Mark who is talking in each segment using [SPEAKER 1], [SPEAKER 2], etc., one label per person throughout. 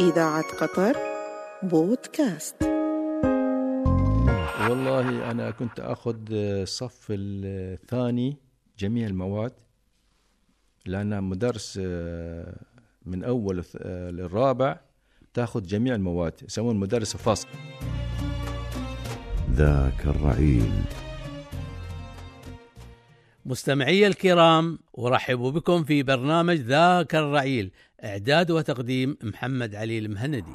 [SPEAKER 1] إذاعة قطر بودكاست
[SPEAKER 2] والله أنا كنت أخذ الصف الثاني جميع المواد لأن مدرس آه، من أول آه، للرابع تأخذ جميع المواد يسمون مدرس فصل
[SPEAKER 3] ذاك الرعيل
[SPEAKER 4] مستمعي الكرام أرحب بكم في برنامج ذاك الرعيل إعداد وتقديم محمد علي المهندي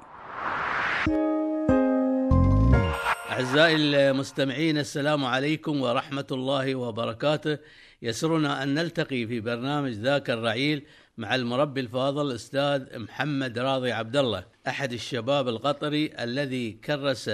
[SPEAKER 4] أعزائي المستمعين السلام عليكم ورحمة الله وبركاته يسرنا أن نلتقي في برنامج ذاك الرعيل مع المربي الفاضل الأستاذ محمد راضي عبد الله أحد الشباب القطري الذي كرس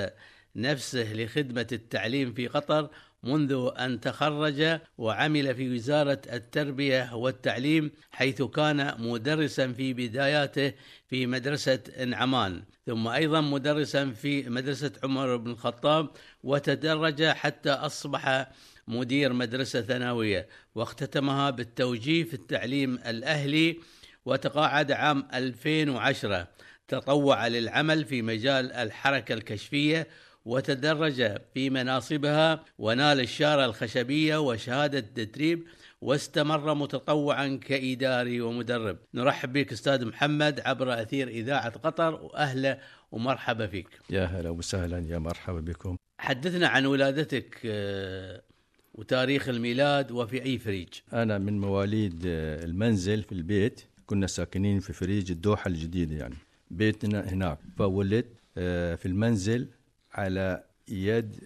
[SPEAKER 4] نفسه لخدمة التعليم في قطر منذ أن تخرج وعمل في وزارة التربية والتعليم حيث كان مدرسا في بداياته في مدرسة نعمان ثم أيضا مدرسا في مدرسة عمر بن الخطاب وتدرج حتى أصبح مدير مدرسة ثانوية واختتمها بالتوجيه في التعليم الأهلي وتقاعد عام 2010 تطوع للعمل في مجال الحركة الكشفية وتدرج في مناصبها ونال الشارة الخشبية وشهادة التدريب واستمر متطوعا كإداري ومدرب نرحب بك أستاذ محمد عبر أثير إذاعة قطر وأهلا ومرحبا فيك
[SPEAKER 2] يا هلا وسهلا يا مرحبا بكم
[SPEAKER 4] حدثنا عن ولادتك آه، وتاريخ الميلاد وفي أي فريج
[SPEAKER 2] أنا من مواليد آه، المنزل في البيت كنا ساكنين في فريج الدوحة الجديدة يعني بيتنا هناك فولدت آه، في المنزل على يد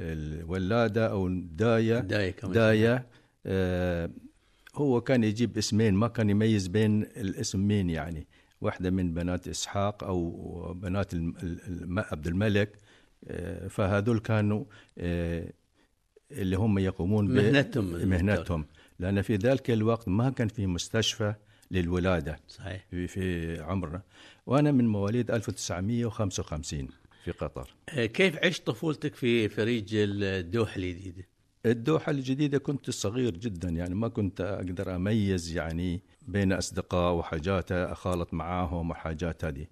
[SPEAKER 2] الولاده او الدايه
[SPEAKER 4] داية كمان.
[SPEAKER 2] دايه آه هو كان يجيب اسمين ما كان يميز بين الاسمين يعني واحده من بنات اسحاق او بنات الم- ال- الم- عبد الملك آه فهذول كانوا آه اللي هم يقومون ب-
[SPEAKER 4] مهنتهم.
[SPEAKER 2] مهنتهم لان في ذلك الوقت ما كان في مستشفى للولاده
[SPEAKER 4] صحيح
[SPEAKER 2] في في عمرنا وانا من مواليد 1955 في قطر
[SPEAKER 4] آه، كيف عشت طفولتك في فريج الدوحة الجديدة
[SPEAKER 2] الدوحة الجديدة كنت صغير جدا يعني ما كنت أقدر أميز يعني بين أصدقاء وحاجات أخالط معاهم وحاجات هذه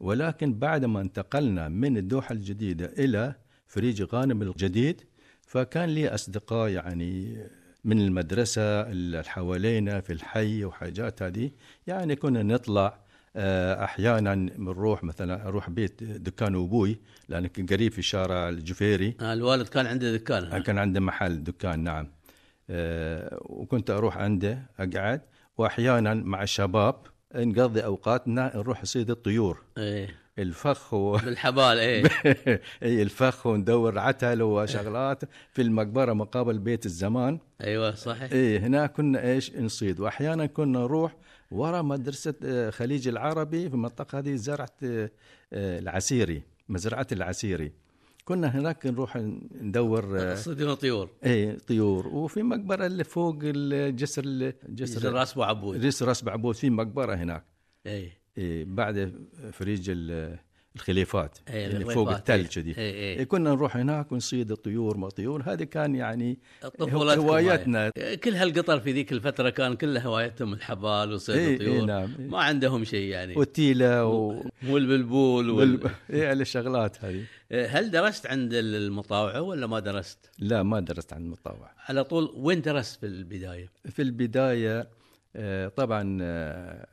[SPEAKER 2] ولكن بعد ما انتقلنا من الدوحة الجديدة إلى فريج غانم الجديد فكان لي أصدقاء يعني من المدرسة اللي حوالينا في الحي وحاجات هذه يعني كنا نطلع آه، أحيانا بنروح مثلا أروح بيت دكان أبوي لأن كنت قريب في شارع الجفيري
[SPEAKER 4] آه، الوالد كان عنده دكان
[SPEAKER 2] أنا
[SPEAKER 4] هناك.
[SPEAKER 2] كان عندي محل دكان نعم آه، وكنت أروح عنده أقعد وأحيانا مع الشباب نقضي أوقاتنا نروح صيد الطيور
[SPEAKER 4] إيه.
[SPEAKER 2] الفخ و...
[SPEAKER 4] بالحبال ايه
[SPEAKER 2] أي الفخ وندور عتل وشغلات في المقبرة مقابل بيت الزمان
[SPEAKER 4] ايوه صحيح
[SPEAKER 2] إيه هنا كنا إيش نصيد وأحيانا كنا نروح ورا مدرسة آه، خليج العربي في المنطقة هذه زرعة آه، آه، العسيري مزرعة العسيري كنا هناك نروح ندور آه،
[SPEAKER 4] صيدين طيور
[SPEAKER 2] ايه طيور وفي مقبره اللي فوق الجسر ال-
[SPEAKER 4] جسر
[SPEAKER 2] جسر
[SPEAKER 4] راس ابو عبود
[SPEAKER 2] جسر راس بعبود في مقبره هناك
[SPEAKER 4] ايه
[SPEAKER 2] إيه بعد فريج ال- الخليفات اللي
[SPEAKER 4] إيه، الخليفات،
[SPEAKER 2] فوق
[SPEAKER 4] إيه.
[SPEAKER 2] الثلج دي
[SPEAKER 4] إيه، إيه.
[SPEAKER 2] إيه، كنا نروح هناك ونصيد الطيور ما طيور هذا كان يعني
[SPEAKER 4] الطفولة
[SPEAKER 2] هوايتنا
[SPEAKER 4] إيه، كل هالقطر في ذيك الفترة كان كلها هوايتهم الحبال وصيد
[SPEAKER 2] إيه، إيه،
[SPEAKER 4] الطيور
[SPEAKER 2] نعم، إيه.
[SPEAKER 4] ما عندهم شيء يعني
[SPEAKER 2] والتيله و...
[SPEAKER 4] مو البلبول وال... إيه،
[SPEAKER 2] وال... ايه الشغلات هذه
[SPEAKER 4] هل درست عند المطاوعة ولا ما درست؟
[SPEAKER 2] لا ما درست عن المطوع
[SPEAKER 4] على طول وين درست في البداية؟
[SPEAKER 2] في البدايه آه، طبعا آه،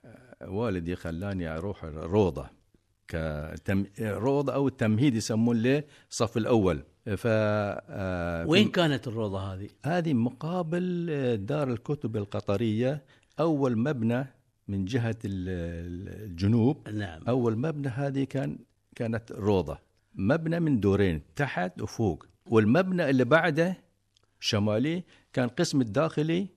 [SPEAKER 2] والدي خلاني اروح الروضه كتم... روضه او التمهيد يسمون له الصف الاول ف آه، في-
[SPEAKER 4] وين كانت الروضة هذه؟
[SPEAKER 2] هذه مقابل آه، دار الكتب القطريه اول مبنى من جهه ال- ال- الجنوب
[SPEAKER 4] نعم
[SPEAKER 2] اول مبنى هذه كان كانت روضه مبنى من دورين تحت وفوق والمبنى اللي بعده شمالي كان قسم الداخلي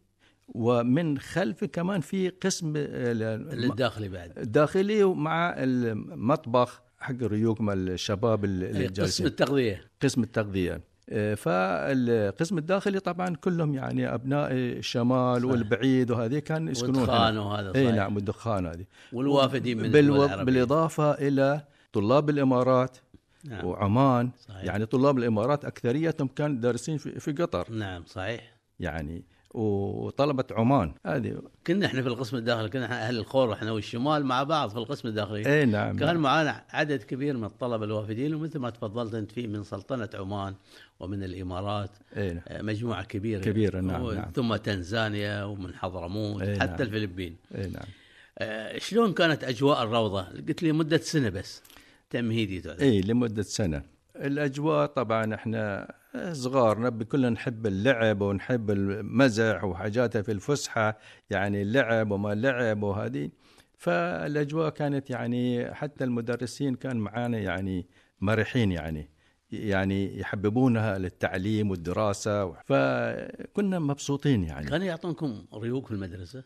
[SPEAKER 2] ومن خلفه كمان في قسم آه، ال-
[SPEAKER 4] للداخلي بعد
[SPEAKER 2] الداخلي ومع المطبخ حق الريوق مال الشباب
[SPEAKER 4] أي
[SPEAKER 2] اللي
[SPEAKER 4] إيه، أيوة، قسم
[SPEAKER 2] جالسين
[SPEAKER 4] التغذية
[SPEAKER 2] قسم التغذيه آه، فالقسم الداخلي طبعا كلهم يعني ابناء الشمال والبعيد وهذه كان يسكنون
[SPEAKER 4] والدخان
[SPEAKER 2] هنا.
[SPEAKER 4] وهذا
[SPEAKER 2] اي
[SPEAKER 4] صحيح.
[SPEAKER 2] نعم والدخان هذه
[SPEAKER 4] والوافدين من الدول
[SPEAKER 2] بالو...
[SPEAKER 4] العربية.
[SPEAKER 2] بالاضافه الى طلاب الامارات
[SPEAKER 4] نعم.
[SPEAKER 2] وعمان
[SPEAKER 4] صحيح.
[SPEAKER 2] يعني طلاب الامارات اكثريتهم كانوا دارسين في, في قطر
[SPEAKER 4] نعم صحيح
[SPEAKER 2] يعني وطلبة عمان هذه
[SPEAKER 4] كنا احنا في القسم الداخلي كنا احنا اهل الخور احنا والشمال مع بعض في القسم الداخلي
[SPEAKER 2] اي نعم
[SPEAKER 4] كان معانا عدد كبير من الطلبه الوافدين ومثل ما تفضلت انت فيه من سلطنه عمان ومن الامارات
[SPEAKER 2] اي نعم.
[SPEAKER 4] آه، مجموعه كبيره
[SPEAKER 2] كبيرة، نعم،
[SPEAKER 4] و-
[SPEAKER 2] نعم.
[SPEAKER 4] ثم تنزانيا ومن حضرموت
[SPEAKER 2] إيه،
[SPEAKER 4] حتى
[SPEAKER 2] نعم.
[SPEAKER 4] الفلبين
[SPEAKER 2] اي نعم
[SPEAKER 4] آه، شلون كانت اجواء الروضه؟ قلت لي مده سنه بس تمهيدي تعتبر.
[SPEAKER 2] اي لمده سنه الاجواء طبعا احنا صغارنا كلنا نحب اللعب ونحب المزح وحاجاته في الفسحه يعني اللعب وما لعب وهذه فالاجواء كانت يعني حتى المدرسين كان معانا يعني مرحين يعني يعني يحببونها للتعليم والدراسه فكنا مبسوطين يعني
[SPEAKER 4] كانوا يعطونكم ريوق في المدرسه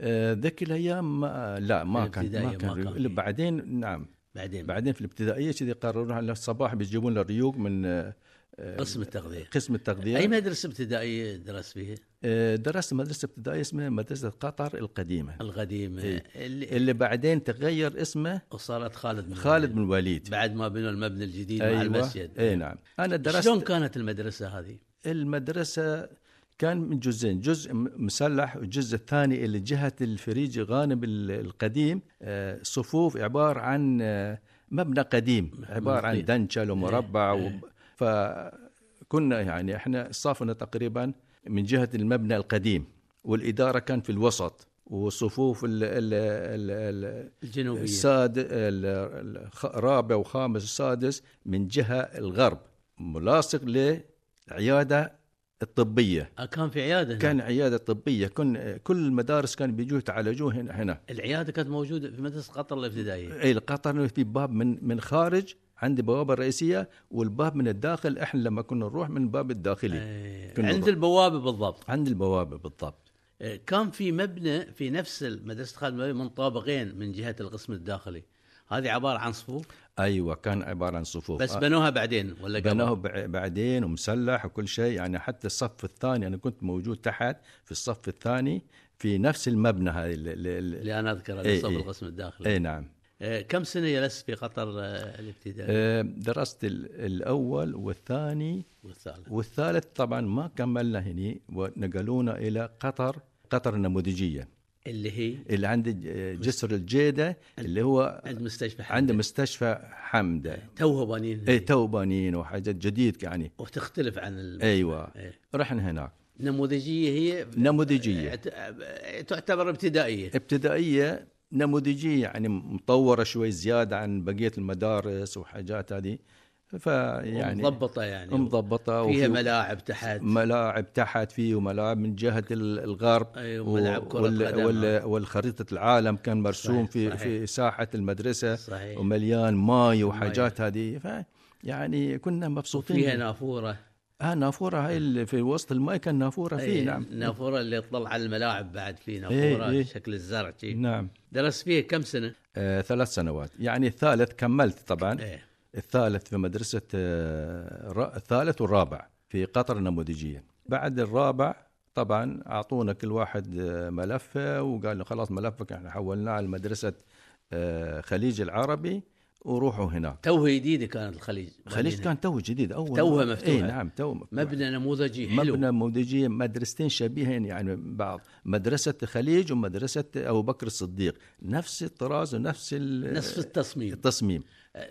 [SPEAKER 2] آه، ذيك الايام ما لا ما كان ما
[SPEAKER 4] الابتدائية
[SPEAKER 2] كان
[SPEAKER 4] ما كان
[SPEAKER 2] ريو-
[SPEAKER 4] في.
[SPEAKER 2] بعدين نعم
[SPEAKER 4] بعدين
[SPEAKER 2] بعدين في الابتدائيه كذي قرروا على الصباح بيجيبون لنا ريوق من آه،
[SPEAKER 4] قسم التغذيه
[SPEAKER 2] قسم التغذيه
[SPEAKER 4] اي مدرسه ابتدائيه درست فيها؟
[SPEAKER 2] آه، درست مدرسه ابتدائيه اسمها مدرسه قطر القديمه
[SPEAKER 4] القديمه
[SPEAKER 2] إيه.
[SPEAKER 4] اللي
[SPEAKER 2] اللي بعدين تغير اسمه
[SPEAKER 4] وصارت خالد بن
[SPEAKER 2] خالد
[SPEAKER 4] الوليد.
[SPEAKER 2] بن وليد
[SPEAKER 4] بعد ما بنوا المبنى الجديد مع المسجد
[SPEAKER 2] اي نعم انا أيوة. درست
[SPEAKER 4] شلون كانت المدرسه هذه؟
[SPEAKER 2] المدرسه كان من جزئين جزء م- مسلح والجزء الثاني اللي جهه الفريج غانم ال- القديم آه، صفوف عباره عن آه، مبنى قديم عباره عن
[SPEAKER 4] مبني.
[SPEAKER 2] دنشل ومربع و... فكنا يعني احنا صافنا تقريبا من جهه المبنى القديم والاداره كان في الوسط وصفوف ال ال ال ال
[SPEAKER 4] الجنوبيه
[SPEAKER 2] الساد ال- الخ- الرابع وخامس وسادس من جهه الغرب ملاصق للعياده الطبيه
[SPEAKER 4] آه، كان في عياده هنا.
[SPEAKER 2] كان عياده طبيه كن كل المدارس كان بيجوا يتعالجون هنا- هنا
[SPEAKER 4] العياده كانت موجوده في مدرسه قطر الابتدائيه
[SPEAKER 2] اي القطر في باب من من خارج عند البوابه الرئيسيه والباب من الداخل احنا لما كنا نروح من الباب الداخلي
[SPEAKER 4] آه،
[SPEAKER 2] كنا
[SPEAKER 4] عند
[SPEAKER 2] نروح.
[SPEAKER 4] البوابه بالضبط
[SPEAKER 2] عند البوابه بالضبط
[SPEAKER 4] آه، كان في مبنى في نفس مدرسه خالد بن الوليد من طابقين من جهه القسم الداخلي هذه عباره عن صفوف
[SPEAKER 2] ايوه كان عباره عن صفوف
[SPEAKER 4] بس بنوها بعدين ولا قبل؟
[SPEAKER 2] بناه بع- بعدين ومسلح وكل شيء يعني حتى الصف الثاني انا كنت موجود تحت في الصف الثاني في نفس المبنى هاي ال- ال- ال-
[SPEAKER 4] اللي انا اذكره
[SPEAKER 2] إيه،
[SPEAKER 4] اللي صوب
[SPEAKER 2] إيه.
[SPEAKER 4] القسم الداخلي
[SPEAKER 2] اي نعم
[SPEAKER 4] آه، كم سنه جلست في قطر آه، الابتدائي
[SPEAKER 2] آه، درست ال- الاول والثاني
[SPEAKER 4] والثالث
[SPEAKER 2] والثالث طبعا ما كملنا هني ونقلونا الى قطر قطر النموذجيه
[SPEAKER 4] اللي هي
[SPEAKER 2] اللي عند ج- آه، جسر الجيده اللي هو
[SPEAKER 4] عند مستشفى
[SPEAKER 2] آه، عند إيه. مستشفى حمده
[SPEAKER 4] توه بانين
[SPEAKER 2] اي تو بانين وحاجات جديد يعني
[SPEAKER 4] وتختلف عن ال...
[SPEAKER 2] ايوه
[SPEAKER 4] إيه.
[SPEAKER 2] رحنا هناك
[SPEAKER 4] نموذجيه هي
[SPEAKER 2] نموذجية.
[SPEAKER 4] ت- تعتبر ابتدائيه
[SPEAKER 2] ابتدائيه نموذجيه يعني مطوره شوي زياده عن بقيه المدارس وحاجات هذه فيعني
[SPEAKER 4] مضبطه يعني
[SPEAKER 2] مضبطه
[SPEAKER 4] فيها
[SPEAKER 2] وفي
[SPEAKER 4] ملاعب تحت
[SPEAKER 2] ملاعب تحت فيه وملاعب من جهه ال- الغرب
[SPEAKER 4] أيوة، ملعب كرة قدم.
[SPEAKER 2] وال والخريطه العالم كان مرسوم
[SPEAKER 4] صحيح،
[SPEAKER 2] في
[SPEAKER 4] صحيح.
[SPEAKER 2] في ساحه المدرسه
[SPEAKER 4] صحيح.
[SPEAKER 2] ومليان ماي وحاجات هذه ف يعني كنا مبسوطين
[SPEAKER 4] فيها نافوره
[SPEAKER 2] ها نافوره هاي اللي في وسط الماي كان نافوره فيه
[SPEAKER 4] إيه،
[SPEAKER 2] نعم
[SPEAKER 4] نافوره اللي تطلع على الملاعب بعد في
[SPEAKER 2] إيه،
[SPEAKER 4] نافوره
[SPEAKER 2] إيه.
[SPEAKER 4] شكل الزرع شي.
[SPEAKER 2] نعم
[SPEAKER 4] درست فيها كم سنه؟
[SPEAKER 2] آه ثلاث سنوات يعني الثالث كملت طبعا
[SPEAKER 4] ايه
[SPEAKER 2] الثالث في مدرسة آه، الر- الثالث والرابع في قطر النموذجية بعد الرابع طبعا أعطونا كل واحد آه، ملفه وقال له خلاص ملفك احنا حولناه على مدرسة آه، خليج العربي وروحوا هناك
[SPEAKER 4] توه جديده كانت الخليج
[SPEAKER 2] خليج
[SPEAKER 4] بعدين
[SPEAKER 2] كان تو جديد أول
[SPEAKER 4] توها مفتوحة.
[SPEAKER 2] اي نعم تو مفتوحة.
[SPEAKER 4] مبنى نموذجي حلو
[SPEAKER 2] مبنى نموذجية مدرستين شبيهين يعني من بعض مدرسة خليج ومدرسة أبو بكر الصديق نفس الطراز ونفس ال-
[SPEAKER 4] نفس التصميم
[SPEAKER 2] التصميم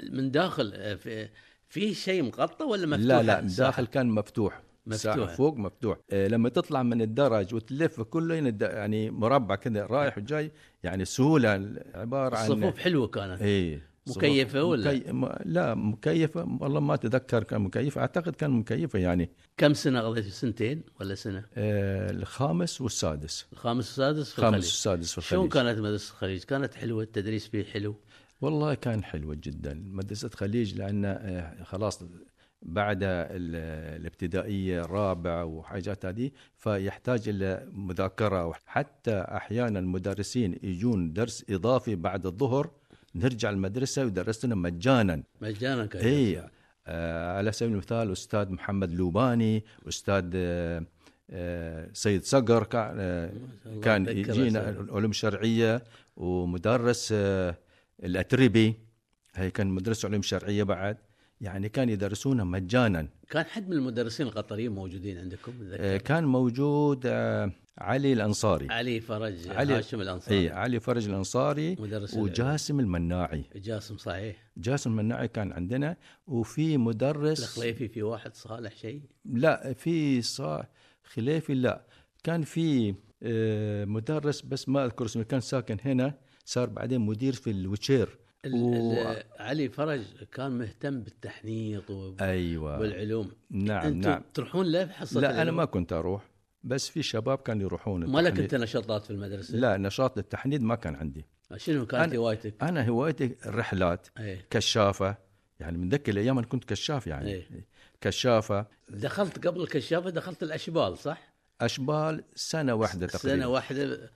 [SPEAKER 4] من داخل آه، في في شيء مغطى ولا مفتوح؟
[SPEAKER 2] لا لا
[SPEAKER 4] الساحة؟
[SPEAKER 2] الداخل كان مفتوح
[SPEAKER 4] مفتوح.
[SPEAKER 2] الساحة فوق مفتوح آه، لما تطلع من الدرج وتلف كله يند- يعني مربع كذا رايح وجاي يعني سهوله عباره عن
[SPEAKER 4] الصفوف حلوه كانت
[SPEAKER 2] اي
[SPEAKER 4] مكيفة ولا؟
[SPEAKER 2] مكي... م- لا مكيفه والله ما اتذكر كان مكيفه اعتقد كان مكيفه يعني
[SPEAKER 4] كم سنه قضيت سنتين ولا سنه؟
[SPEAKER 2] آه، الخامس والسادس
[SPEAKER 4] الخامس والسادس في
[SPEAKER 2] الخامس
[SPEAKER 4] الخليج.
[SPEAKER 2] والسادس في
[SPEAKER 4] شلون
[SPEAKER 2] الخليج
[SPEAKER 4] كانت مدرسه الخليج؟ كانت حلوه التدريس فيه حلو
[SPEAKER 2] والله كان حلوة جدا مدرسة خليج لأن آه، خلاص بعد ال- الابتدائية الرابعة وحاجات هذه فيحتاج إلى مذاكرة حتى أحيانا المدرسين يجون درس إضافي بعد الظهر نرجع المدرسة ويدرس لنا مجانا
[SPEAKER 4] مجانا كان
[SPEAKER 2] اي آه على سبيل المثال استاذ محمد لوباني استاذ آه آه سيد صقر كان, آه
[SPEAKER 4] الله
[SPEAKER 2] كان
[SPEAKER 4] أتذكر
[SPEAKER 2] يجينا
[SPEAKER 4] أسامي.
[SPEAKER 2] علوم شرعيه ومدرس آه الاتربي هي كان مدرس علوم شرعيه بعد يعني كان يدرسونه مجانا
[SPEAKER 4] كان حد من المدرسين القطريين موجودين عندكم أتذكر.
[SPEAKER 2] آه، كان موجود آه، علي الانصاري
[SPEAKER 4] علي فرج
[SPEAKER 2] علي- إيه.
[SPEAKER 4] هاشم الانصاري
[SPEAKER 2] اي علي فرج الانصاري
[SPEAKER 4] مدرس
[SPEAKER 2] وجاسم المناعي
[SPEAKER 4] العلم. جاسم صحيح
[SPEAKER 2] جاسم المناعي كان عندنا وفي مدرس
[SPEAKER 4] الخليفي في واحد صالح شيء
[SPEAKER 2] لا في صا خليفي لا كان في آه، مدرس بس ما اذكر اسمه كان ساكن هنا صار بعدين مدير في الوتشير
[SPEAKER 4] ال-
[SPEAKER 2] و-
[SPEAKER 4] ال- علي فرج كان مهتم بالتحنيط و-
[SPEAKER 2] ايوه
[SPEAKER 4] والعلوم
[SPEAKER 2] نعم
[SPEAKER 4] انتم
[SPEAKER 2] نعم
[SPEAKER 4] تروحون له حصه
[SPEAKER 2] لا انا
[SPEAKER 4] العلوم؟
[SPEAKER 2] ما كنت اروح بس في شباب كانوا يروحون
[SPEAKER 4] ما لك
[SPEAKER 2] التحنيد.
[SPEAKER 4] انت نشاطات في المدرسه
[SPEAKER 2] لا نشاط التحنيد ما كان عندي
[SPEAKER 4] شنو كانت
[SPEAKER 2] أنا-
[SPEAKER 4] هوايتك؟
[SPEAKER 2] انا هوايتي الرحلات
[SPEAKER 4] ايه
[SPEAKER 2] كشافه يعني من ذاك الايام انا كنت كشاف يعني
[SPEAKER 4] إيه.
[SPEAKER 2] كشافه
[SPEAKER 4] دخلت قبل الكشافه دخلت الاشبال صح؟
[SPEAKER 2] اشبال سنه واحده تقريبا
[SPEAKER 4] سنه واحده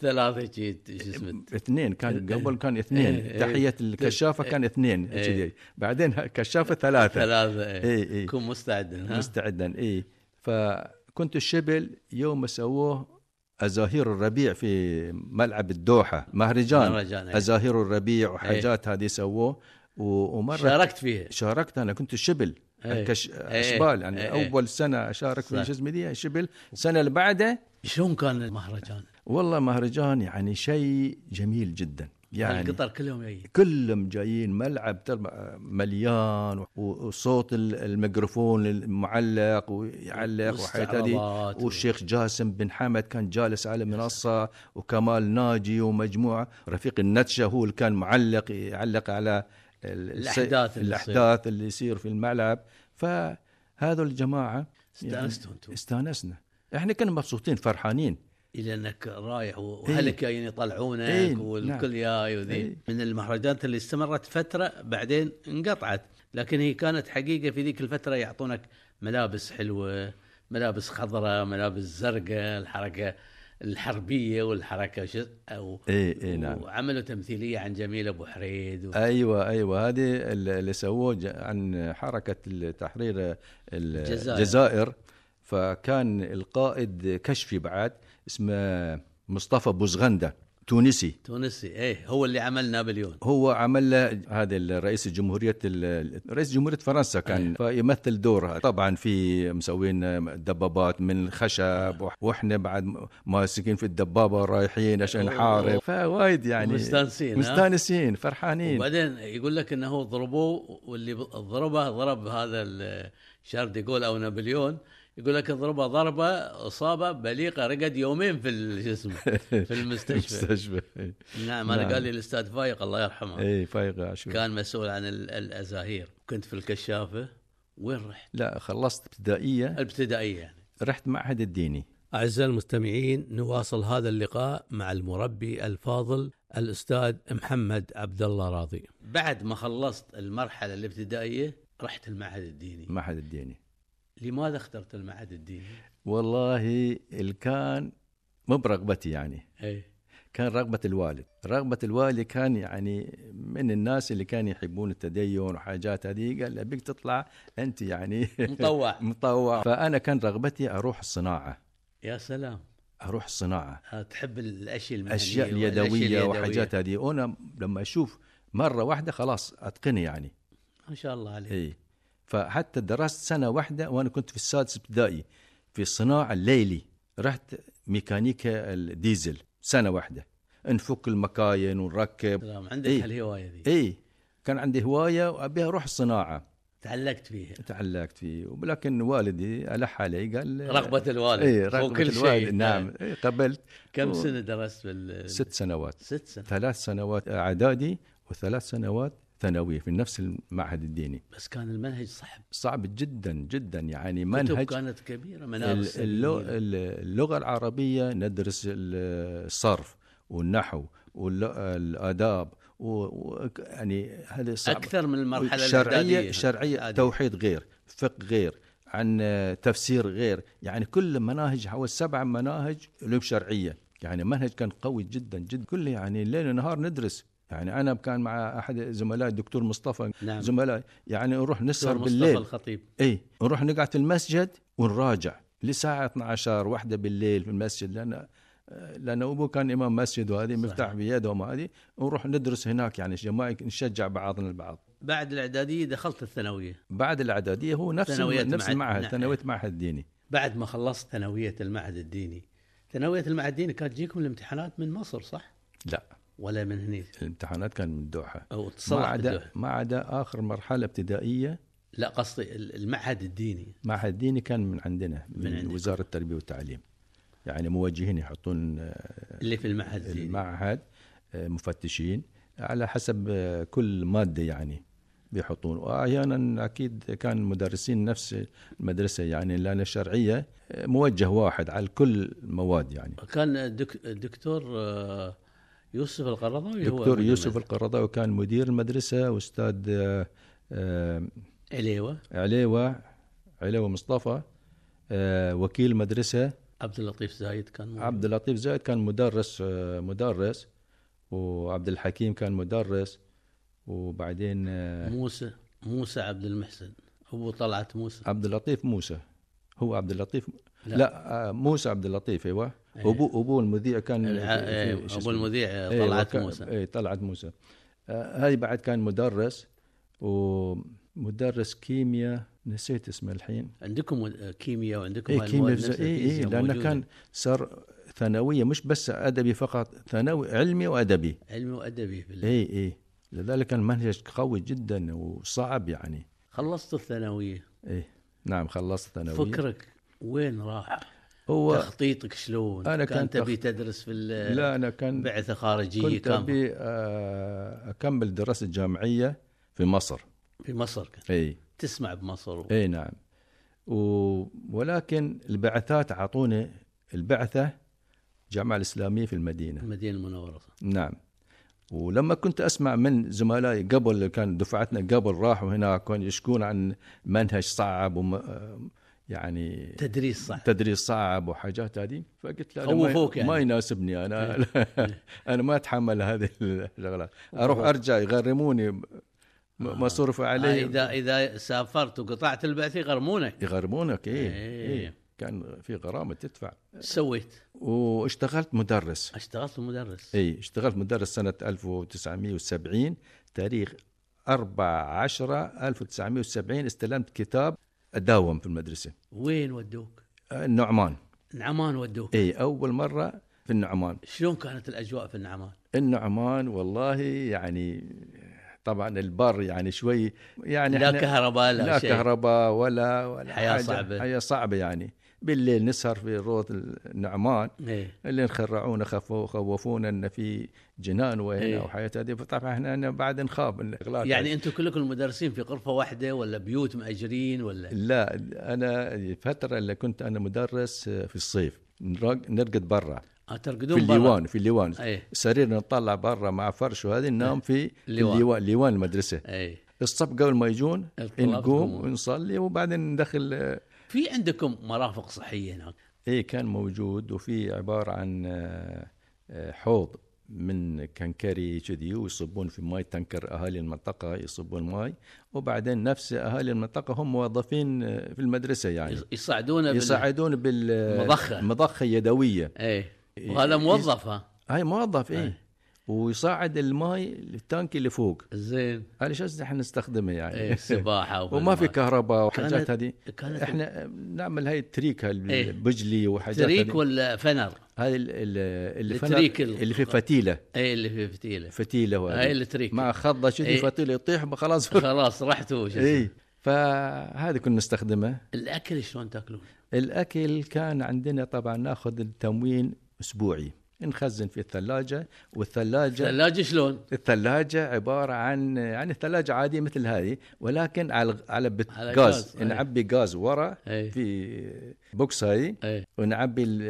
[SPEAKER 4] ثلاثه جيت شو
[SPEAKER 2] إيه،
[SPEAKER 4] اسمه
[SPEAKER 2] اثنين كان
[SPEAKER 4] إيه.
[SPEAKER 2] قبل كان
[SPEAKER 4] إيه،
[SPEAKER 2] اثنين
[SPEAKER 4] إيه.
[SPEAKER 2] تحيه الكشافه كان اثنين
[SPEAKER 4] إيه.
[SPEAKER 2] كذي بعدين إيه، ه- كشافه ثلاثه
[SPEAKER 4] ثلاثه ايه
[SPEAKER 2] اي اي
[SPEAKER 4] كن مستعدا ها؟
[SPEAKER 2] مستعدا اي فكنت الشبل يوم سووه ازاهير الربيع في ملعب الدوحه مهرجان
[SPEAKER 4] مهرجان إيه.
[SPEAKER 2] ازاهير الربيع وحاجات هذه سووه و- ومره
[SPEAKER 4] شاركت فيها
[SPEAKER 2] شاركت انا كنت الشبل
[SPEAKER 4] إيه.
[SPEAKER 2] كش...
[SPEAKER 4] إيه.
[SPEAKER 2] اشبال يعني
[SPEAKER 4] إيه.
[SPEAKER 2] اول سنه اشارك
[SPEAKER 4] صح.
[SPEAKER 2] في جزمه دي شبل السنه اللي بعده
[SPEAKER 4] شلون كان المهرجان؟
[SPEAKER 2] والله مهرجان يعني شيء جميل جدا يعني
[SPEAKER 4] القطر كلهم جايين
[SPEAKER 2] كلهم جايين ملعب ترى آه، مليان و- وصوت ال- الميكروفون المعلق ويعلق وحياة هذه
[SPEAKER 4] واستعراضات و-
[SPEAKER 2] والشيخ جاسم بن حمد كان جالس على منصة وكمال ناجي ومجموعة رفيق النتشة هو اللي كان معلق يعلق على ال- الس-
[SPEAKER 4] الأحداث اللي تصير.
[SPEAKER 2] الأحداث اللي يصير في الملعب فهذول الجماعة
[SPEAKER 4] استانستوا
[SPEAKER 2] إيه.
[SPEAKER 4] انتم
[SPEAKER 2] استانسنا احنا كنا مبسوطين فرحانين
[SPEAKER 4] الى انك رايح و- واهلك جايين يطلعونك
[SPEAKER 2] إيه،
[SPEAKER 4] والكل
[SPEAKER 2] نعم.
[SPEAKER 4] جاي وذي
[SPEAKER 2] إيه.
[SPEAKER 4] من المهرجانات اللي استمرت فتره بعدين انقطعت لكن هي كانت حقيقه في ذيك الفتره يعطونك ملابس حلوه ملابس خضراء ملابس زرقاء الحركه الحربيه والحركه شو او
[SPEAKER 2] اي
[SPEAKER 4] إيه،
[SPEAKER 2] اي نعم
[SPEAKER 4] وعملوا تمثيليه عن جميل ابو حريد و...
[SPEAKER 2] ايوه ايوه هذه اللي اللي سووه ج- عن حركه التحرير ال-
[SPEAKER 4] الجزائر.
[SPEAKER 2] الجزائر فكان القائد كشفي بعد اسمه مصطفى بوزغنده تونسي
[SPEAKER 4] تونسي ايه هو اللي عمل نابليون
[SPEAKER 2] هو عمل له هذا الرئيس الجمهورية ال- رئيس جمهورية فرنسا كان
[SPEAKER 4] أيوة.
[SPEAKER 2] فيمثل دورها طبعا في مسوين دبابات من الخشب
[SPEAKER 4] أيوة.
[SPEAKER 2] وح- واحنا بعد م- ماسكين في الدبابة رايحين عشان نحارب فوايد يعني
[SPEAKER 4] مستانسين، ها؟
[SPEAKER 2] مستانسين فرحانين
[SPEAKER 4] وبعدين يقول لك انه ضربوه واللي ب- ضربه ضرب هذا ال- شارل دي جول او نابليون يقول لك ضربه ضربه اصابه بليقه رقد يومين في ال- شو اسمه في المستشفى
[SPEAKER 2] المستشفى
[SPEAKER 4] نعم انا
[SPEAKER 2] نعم. إيه.
[SPEAKER 4] قال لي الاستاذ فايق الله يرحمه
[SPEAKER 2] اي فايق شو
[SPEAKER 4] كان مسؤول عن ال- الازاهير كنت في الكشافه وين رحت؟
[SPEAKER 2] لا خلصت ابتدائيه
[SPEAKER 4] الابتدائيه يعني
[SPEAKER 2] رحت معهد الديني
[SPEAKER 4] أعزائي المستمعين نواصل هذا اللقاء مع المربي الفاضل الأستاذ محمد عبد الله راضي بعد ما خلصت المرحلة الابتدائية رحت المعهد الديني
[SPEAKER 2] معهد الديني
[SPEAKER 4] لماذا اخترت المعهد الديني؟
[SPEAKER 2] والله اللي كان مو برغبتي يعني
[SPEAKER 4] أي.
[SPEAKER 2] كان رغبة الوالد رغبة الوالد كان يعني من الناس اللي كانوا يحبون التدين وحاجات هذه قال له بيك تطلع أنت يعني
[SPEAKER 4] مطوع
[SPEAKER 2] مطوع فأنا كان رغبتي أروح الصناعة
[SPEAKER 4] يا سلام
[SPEAKER 2] أروح الصناعة
[SPEAKER 4] ها، تحب الأشياء المهنية
[SPEAKER 2] أشياء
[SPEAKER 4] والأشياء
[SPEAKER 2] اليدوية
[SPEAKER 4] اليدوية.
[SPEAKER 2] وحاجات هذه وأنا لما أشوف مرة واحدة خلاص أتقني يعني
[SPEAKER 4] ما شاء الله عليك
[SPEAKER 2] اي فحتى درست سنه واحده وانا كنت في السادس ابتدائي في الصناعه الليلي رحت ميكانيكا الديزل سنه واحده نفك المكاين ونركب
[SPEAKER 4] سلام عندك
[SPEAKER 2] إي.
[SPEAKER 4] هالهواية ذي
[SPEAKER 2] اي كان عندي هوايه وابي اروح الصناعه
[SPEAKER 4] تعلقت فيها
[SPEAKER 2] إيه. تعلقت فيه ولكن والدي الح علي قال
[SPEAKER 4] رغبة الوالد
[SPEAKER 2] اي
[SPEAKER 4] فوق
[SPEAKER 2] رغبه
[SPEAKER 4] كل
[SPEAKER 2] إيه، الوالد
[SPEAKER 4] شيء. آه،
[SPEAKER 2] نعم إي، قبلت
[SPEAKER 4] كم
[SPEAKER 2] و-
[SPEAKER 4] سنة درست بال
[SPEAKER 2] ست سنوات
[SPEAKER 4] ست سنة
[SPEAKER 2] ثلاث سنوات اعدادي وثلاث سنوات ثانويه في نفس المعهد الديني
[SPEAKER 4] بس كان المنهج صعب
[SPEAKER 2] صعب جدا جدا يعني
[SPEAKER 4] كتب
[SPEAKER 2] منهج
[SPEAKER 4] كانت كبيرة منابس
[SPEAKER 2] ال- اللو-
[SPEAKER 4] كبيرة.
[SPEAKER 2] ال- اللغة العربية ندرس ال- الصرف والنحو والآداب و- و- يعني هذا صعب
[SPEAKER 4] اكثر من المرحله
[SPEAKER 2] الشرعية
[SPEAKER 4] الإعدادية.
[SPEAKER 2] الشرعية
[SPEAKER 4] الإعدادية.
[SPEAKER 2] توحيد غير فقه غير عن آه، تفسير غير يعني كل مناهج حوالي سبع مناهج علوم شرعية يعني منهج كان قوي جدا جدا كله يعني ليل نهار ندرس يعني انا كان مع احد زملائي الدكتور مصطفى
[SPEAKER 4] نعم.
[SPEAKER 2] زملائي يعني نروح نسهر
[SPEAKER 4] دكتور
[SPEAKER 2] بالليل
[SPEAKER 4] مصطفى الخطيب
[SPEAKER 2] اي نروح نقعد في المسجد ونراجع لساعة 12 واحدة بالليل في المسجد لأن لأن أبوه كان إمام مسجد وهذه مفتاح بيده وما هذه ونروح ندرس هناك يعني جماعي نشجع بعضنا البعض
[SPEAKER 4] بعد الاعداديه دخلت الثانويه
[SPEAKER 2] بعد الإعدادية هو نفس
[SPEAKER 4] ثانوية
[SPEAKER 2] نفس
[SPEAKER 4] معهد.
[SPEAKER 2] المعهد
[SPEAKER 4] نعم.
[SPEAKER 2] ثانوية معهد ديني
[SPEAKER 4] بعد ما خلصت ثانويه المعهد الديني ثانويه المعهد الديني كانت تجيكم الامتحانات من مصر صح
[SPEAKER 2] لا
[SPEAKER 4] ولا من هني
[SPEAKER 2] الامتحانات كان من الدوحة
[SPEAKER 4] او
[SPEAKER 2] ما
[SPEAKER 4] تصلح
[SPEAKER 2] عدا ما عدا آخر مرحلة ابتدائية
[SPEAKER 4] لا قصدي ال- المعهد الديني
[SPEAKER 2] معهد ديني كان من عندنا من,
[SPEAKER 4] عندكم.
[SPEAKER 2] من وزارة التربية والتعليم يعني موجهين يحطون آه،
[SPEAKER 4] اللي في المعهد الديني
[SPEAKER 2] المعهد آه، مفتشين على حسب آه، كل مادة يعني بيحطون وأحيانا أكيد كان مدرسين نفس المدرسة يعني لأن الشرعية آه، موجه واحد على كل المواد يعني
[SPEAKER 4] كان الدك- الدكتور آه، يوسف القرضاوي هو
[SPEAKER 2] دكتور
[SPEAKER 4] مدير
[SPEAKER 2] يوسف
[SPEAKER 4] المدرسة.
[SPEAKER 2] القرضاوي كان مدير المدرسة وأستاذ آه، آه،
[SPEAKER 4] عليوه
[SPEAKER 2] عليوة عليوة مصطفى آه، وكيل المدرسة
[SPEAKER 4] عبد اللطيف زايد كان موجود.
[SPEAKER 2] عبد اللطيف زايد كان مدرس آه، مدرس وعبد الحكيم كان مدرس وبعدين آه،
[SPEAKER 4] موسى موسى عبد المحسن ابو طلعت موسى
[SPEAKER 2] عبد اللطيف موسى هو عبد اللطيف
[SPEAKER 4] لا.
[SPEAKER 2] لا, لا آه، موسى عبد اللطيف ايوه
[SPEAKER 4] أيه.
[SPEAKER 2] ابو ابو المذيع كان
[SPEAKER 4] الع-
[SPEAKER 2] في- في-
[SPEAKER 4] إيه،
[SPEAKER 2] شو
[SPEAKER 4] ابو
[SPEAKER 2] اسمه؟
[SPEAKER 4] المذيع
[SPEAKER 2] إيه،
[SPEAKER 4] طلعت
[SPEAKER 2] وكا-
[SPEAKER 4] موسى
[SPEAKER 2] إيه طلعت موسى آه، هاي بعد كان مدرس ومدرس كيمياء نسيت اسمه الحين
[SPEAKER 4] عندكم مد- كيمياء وعندكم
[SPEAKER 2] اي
[SPEAKER 4] هالمواد
[SPEAKER 2] إيه، كيمياء
[SPEAKER 4] نفس
[SPEAKER 2] اي اي
[SPEAKER 4] الفيزياء
[SPEAKER 2] لانه
[SPEAKER 4] موجودة.
[SPEAKER 2] كان صار ثانويه مش بس ادبي فقط ثانوي علمي وادبي
[SPEAKER 4] علمي وادبي في ال-
[SPEAKER 2] اي اي لذلك كان المنهج قوي جدا وصعب يعني
[SPEAKER 4] خلصت الثانويه
[SPEAKER 2] اي نعم خلصت ثانويه
[SPEAKER 4] فكرك وين راح؟
[SPEAKER 2] هو
[SPEAKER 4] تخطيطك شلون؟
[SPEAKER 2] أنا
[SPEAKER 4] كان
[SPEAKER 2] كان
[SPEAKER 4] تبي
[SPEAKER 2] تخ-
[SPEAKER 4] تدرس في ال-
[SPEAKER 2] لا انا كان
[SPEAKER 4] بعثه خارجيه
[SPEAKER 2] كنت
[SPEAKER 4] كان
[SPEAKER 2] ابي آه، اكمل دراسه جامعيه في مصر
[SPEAKER 4] في مصر كان
[SPEAKER 2] اي
[SPEAKER 4] تسمع بمصر و...
[SPEAKER 2] اي نعم و... ولكن البعثات اعطوني البعثه الجامعه الاسلاميه في المدينه
[SPEAKER 4] المدينه المنوره صح؟
[SPEAKER 2] نعم ولما كنت اسمع من زملائي قبل اللي كان دفعتنا قبل راحوا هناك كانوا يشكون عن منهج صعب وم... آه، يعني
[SPEAKER 4] تدريس صح
[SPEAKER 2] تدريس صعب وحاجات هذه فقلت لا أنا ما,
[SPEAKER 4] خوفوك يعني. إيه.
[SPEAKER 2] ما يناسبني انا انا ما اتحمل هذه الاغلاط اروح
[SPEAKER 4] خوفوك. آه.
[SPEAKER 2] ارجع يغرموني م- مصروف
[SPEAKER 4] علي
[SPEAKER 2] علي
[SPEAKER 4] اذا اذا سافرت وقطعت البعثه يغرمونك
[SPEAKER 2] يغرمونك ايه
[SPEAKER 4] إيه.
[SPEAKER 2] إيه. كان في غرامه تدفع
[SPEAKER 4] ايش سويت؟
[SPEAKER 2] واشتغلت مدرس
[SPEAKER 4] اشتغلت مدرس
[SPEAKER 2] اي اشتغلت مدرس سنة 1970 تاريخ 4 10 1970 استلمت كتاب أداوم في المدرسة آه،
[SPEAKER 4] وين ودوك؟
[SPEAKER 2] النعمان
[SPEAKER 4] نعمان ودوك
[SPEAKER 2] اي أول مرة في النعمان
[SPEAKER 4] شلون كانت الاجواء في النعمان؟
[SPEAKER 2] النعمان والله يعني طبعا البر يعني شوي يعني
[SPEAKER 4] لا
[SPEAKER 2] إحنا-
[SPEAKER 4] كهرباء لا,
[SPEAKER 2] لا
[SPEAKER 4] شيء
[SPEAKER 2] كهرباء ولا ولا
[SPEAKER 4] حياة
[SPEAKER 2] حاجة-
[SPEAKER 4] صعبة.
[SPEAKER 2] حياة صعبة يعني بالليل نسهر في روض النعمان
[SPEAKER 4] ايه
[SPEAKER 2] اللي خرعونا خفوا خوفونا ان في جنان وهنا
[SPEAKER 4] إيه.
[SPEAKER 2] إيه؟ وحياه هذه فطبعا احنا أنا بعد نخاف من الاغلاق
[SPEAKER 4] يعني انتم كلكم المدرسين في غرفه واحده ولا بيوت مأجرين ولا
[SPEAKER 2] لا انا الفتره اللي كنت انا مدرس في الصيف نرق- نرقد برا
[SPEAKER 4] آه
[SPEAKER 2] في
[SPEAKER 4] ترقدون برا؟
[SPEAKER 2] الليوان في الليوان
[SPEAKER 4] ايه
[SPEAKER 2] سرير نطلع برا مع فرش وهذه ننام في
[SPEAKER 4] إيه. الليوان.
[SPEAKER 2] الليوان ليوان المدرسه
[SPEAKER 4] ايه
[SPEAKER 2] الصف قبل ما يجون
[SPEAKER 4] الطلاب
[SPEAKER 2] نقوم
[SPEAKER 4] تقومون.
[SPEAKER 2] ونصلي وبعدين ندخل
[SPEAKER 4] في عندكم مرافق صحيه هناك
[SPEAKER 2] ايه كان موجود وفي عباره عن آه، آه، حوض من كنكري كذي ويصبون في ماي تنكر اهالي المنطقه يصبون ماي وبعدين نفس اهالي المنطقه هم موظفين آه، في المدرسه يعني
[SPEAKER 4] يص- يصعدونا بال-
[SPEAKER 2] يساعدون
[SPEAKER 4] مضخة.
[SPEAKER 2] بالمضخه مضخه يدويه
[SPEAKER 4] ايه
[SPEAKER 2] إيه.
[SPEAKER 4] وهذا موظف ها
[SPEAKER 2] هاي موظف
[SPEAKER 4] أي.
[SPEAKER 2] ايه ويصعد الماي التانكي اللي فوق
[SPEAKER 4] زين
[SPEAKER 2] على اساس احنا نستخدمه
[SPEAKER 4] ايه
[SPEAKER 2] يعني
[SPEAKER 4] سباحه
[SPEAKER 2] وما في كهرباء
[SPEAKER 4] كانت-
[SPEAKER 2] وحاجات هذه
[SPEAKER 4] كانت
[SPEAKER 2] احنا نعمل هاي التريك
[SPEAKER 4] إيه.
[SPEAKER 2] البجلي وحاجات هذه.
[SPEAKER 4] تريك ولا فنر؟
[SPEAKER 2] هذا ال- ال- اللي فنر-
[SPEAKER 4] التريك ال-
[SPEAKER 2] اللي في فتيله
[SPEAKER 4] ايه اللي في فتيله
[SPEAKER 2] فتيله وهذه.
[SPEAKER 4] هاي التريك
[SPEAKER 2] مع خضه شذي
[SPEAKER 4] إيه.
[SPEAKER 2] فتيله يطيح خلاص
[SPEAKER 4] خلاص رحتوا شو اسمه.
[SPEAKER 2] اي فهذا كنا نستخدمه
[SPEAKER 4] الاكل شلون تاكلون؟
[SPEAKER 2] الاكل كان عندنا طبعا ناخذ التموين اسبوعي نخزن في الثلاجه والثلاجه
[SPEAKER 4] ثلاجه شلون؟
[SPEAKER 2] الثلاجه عباره عن يعني الثلاجه عاديه مثل هذه ولكن على على بت-
[SPEAKER 4] على غاز، إيه.
[SPEAKER 2] غاز
[SPEAKER 4] أي.
[SPEAKER 2] نعبي غاز ورا
[SPEAKER 4] ايه
[SPEAKER 2] في بوكس هاي
[SPEAKER 4] ايه
[SPEAKER 2] ونعبي ال-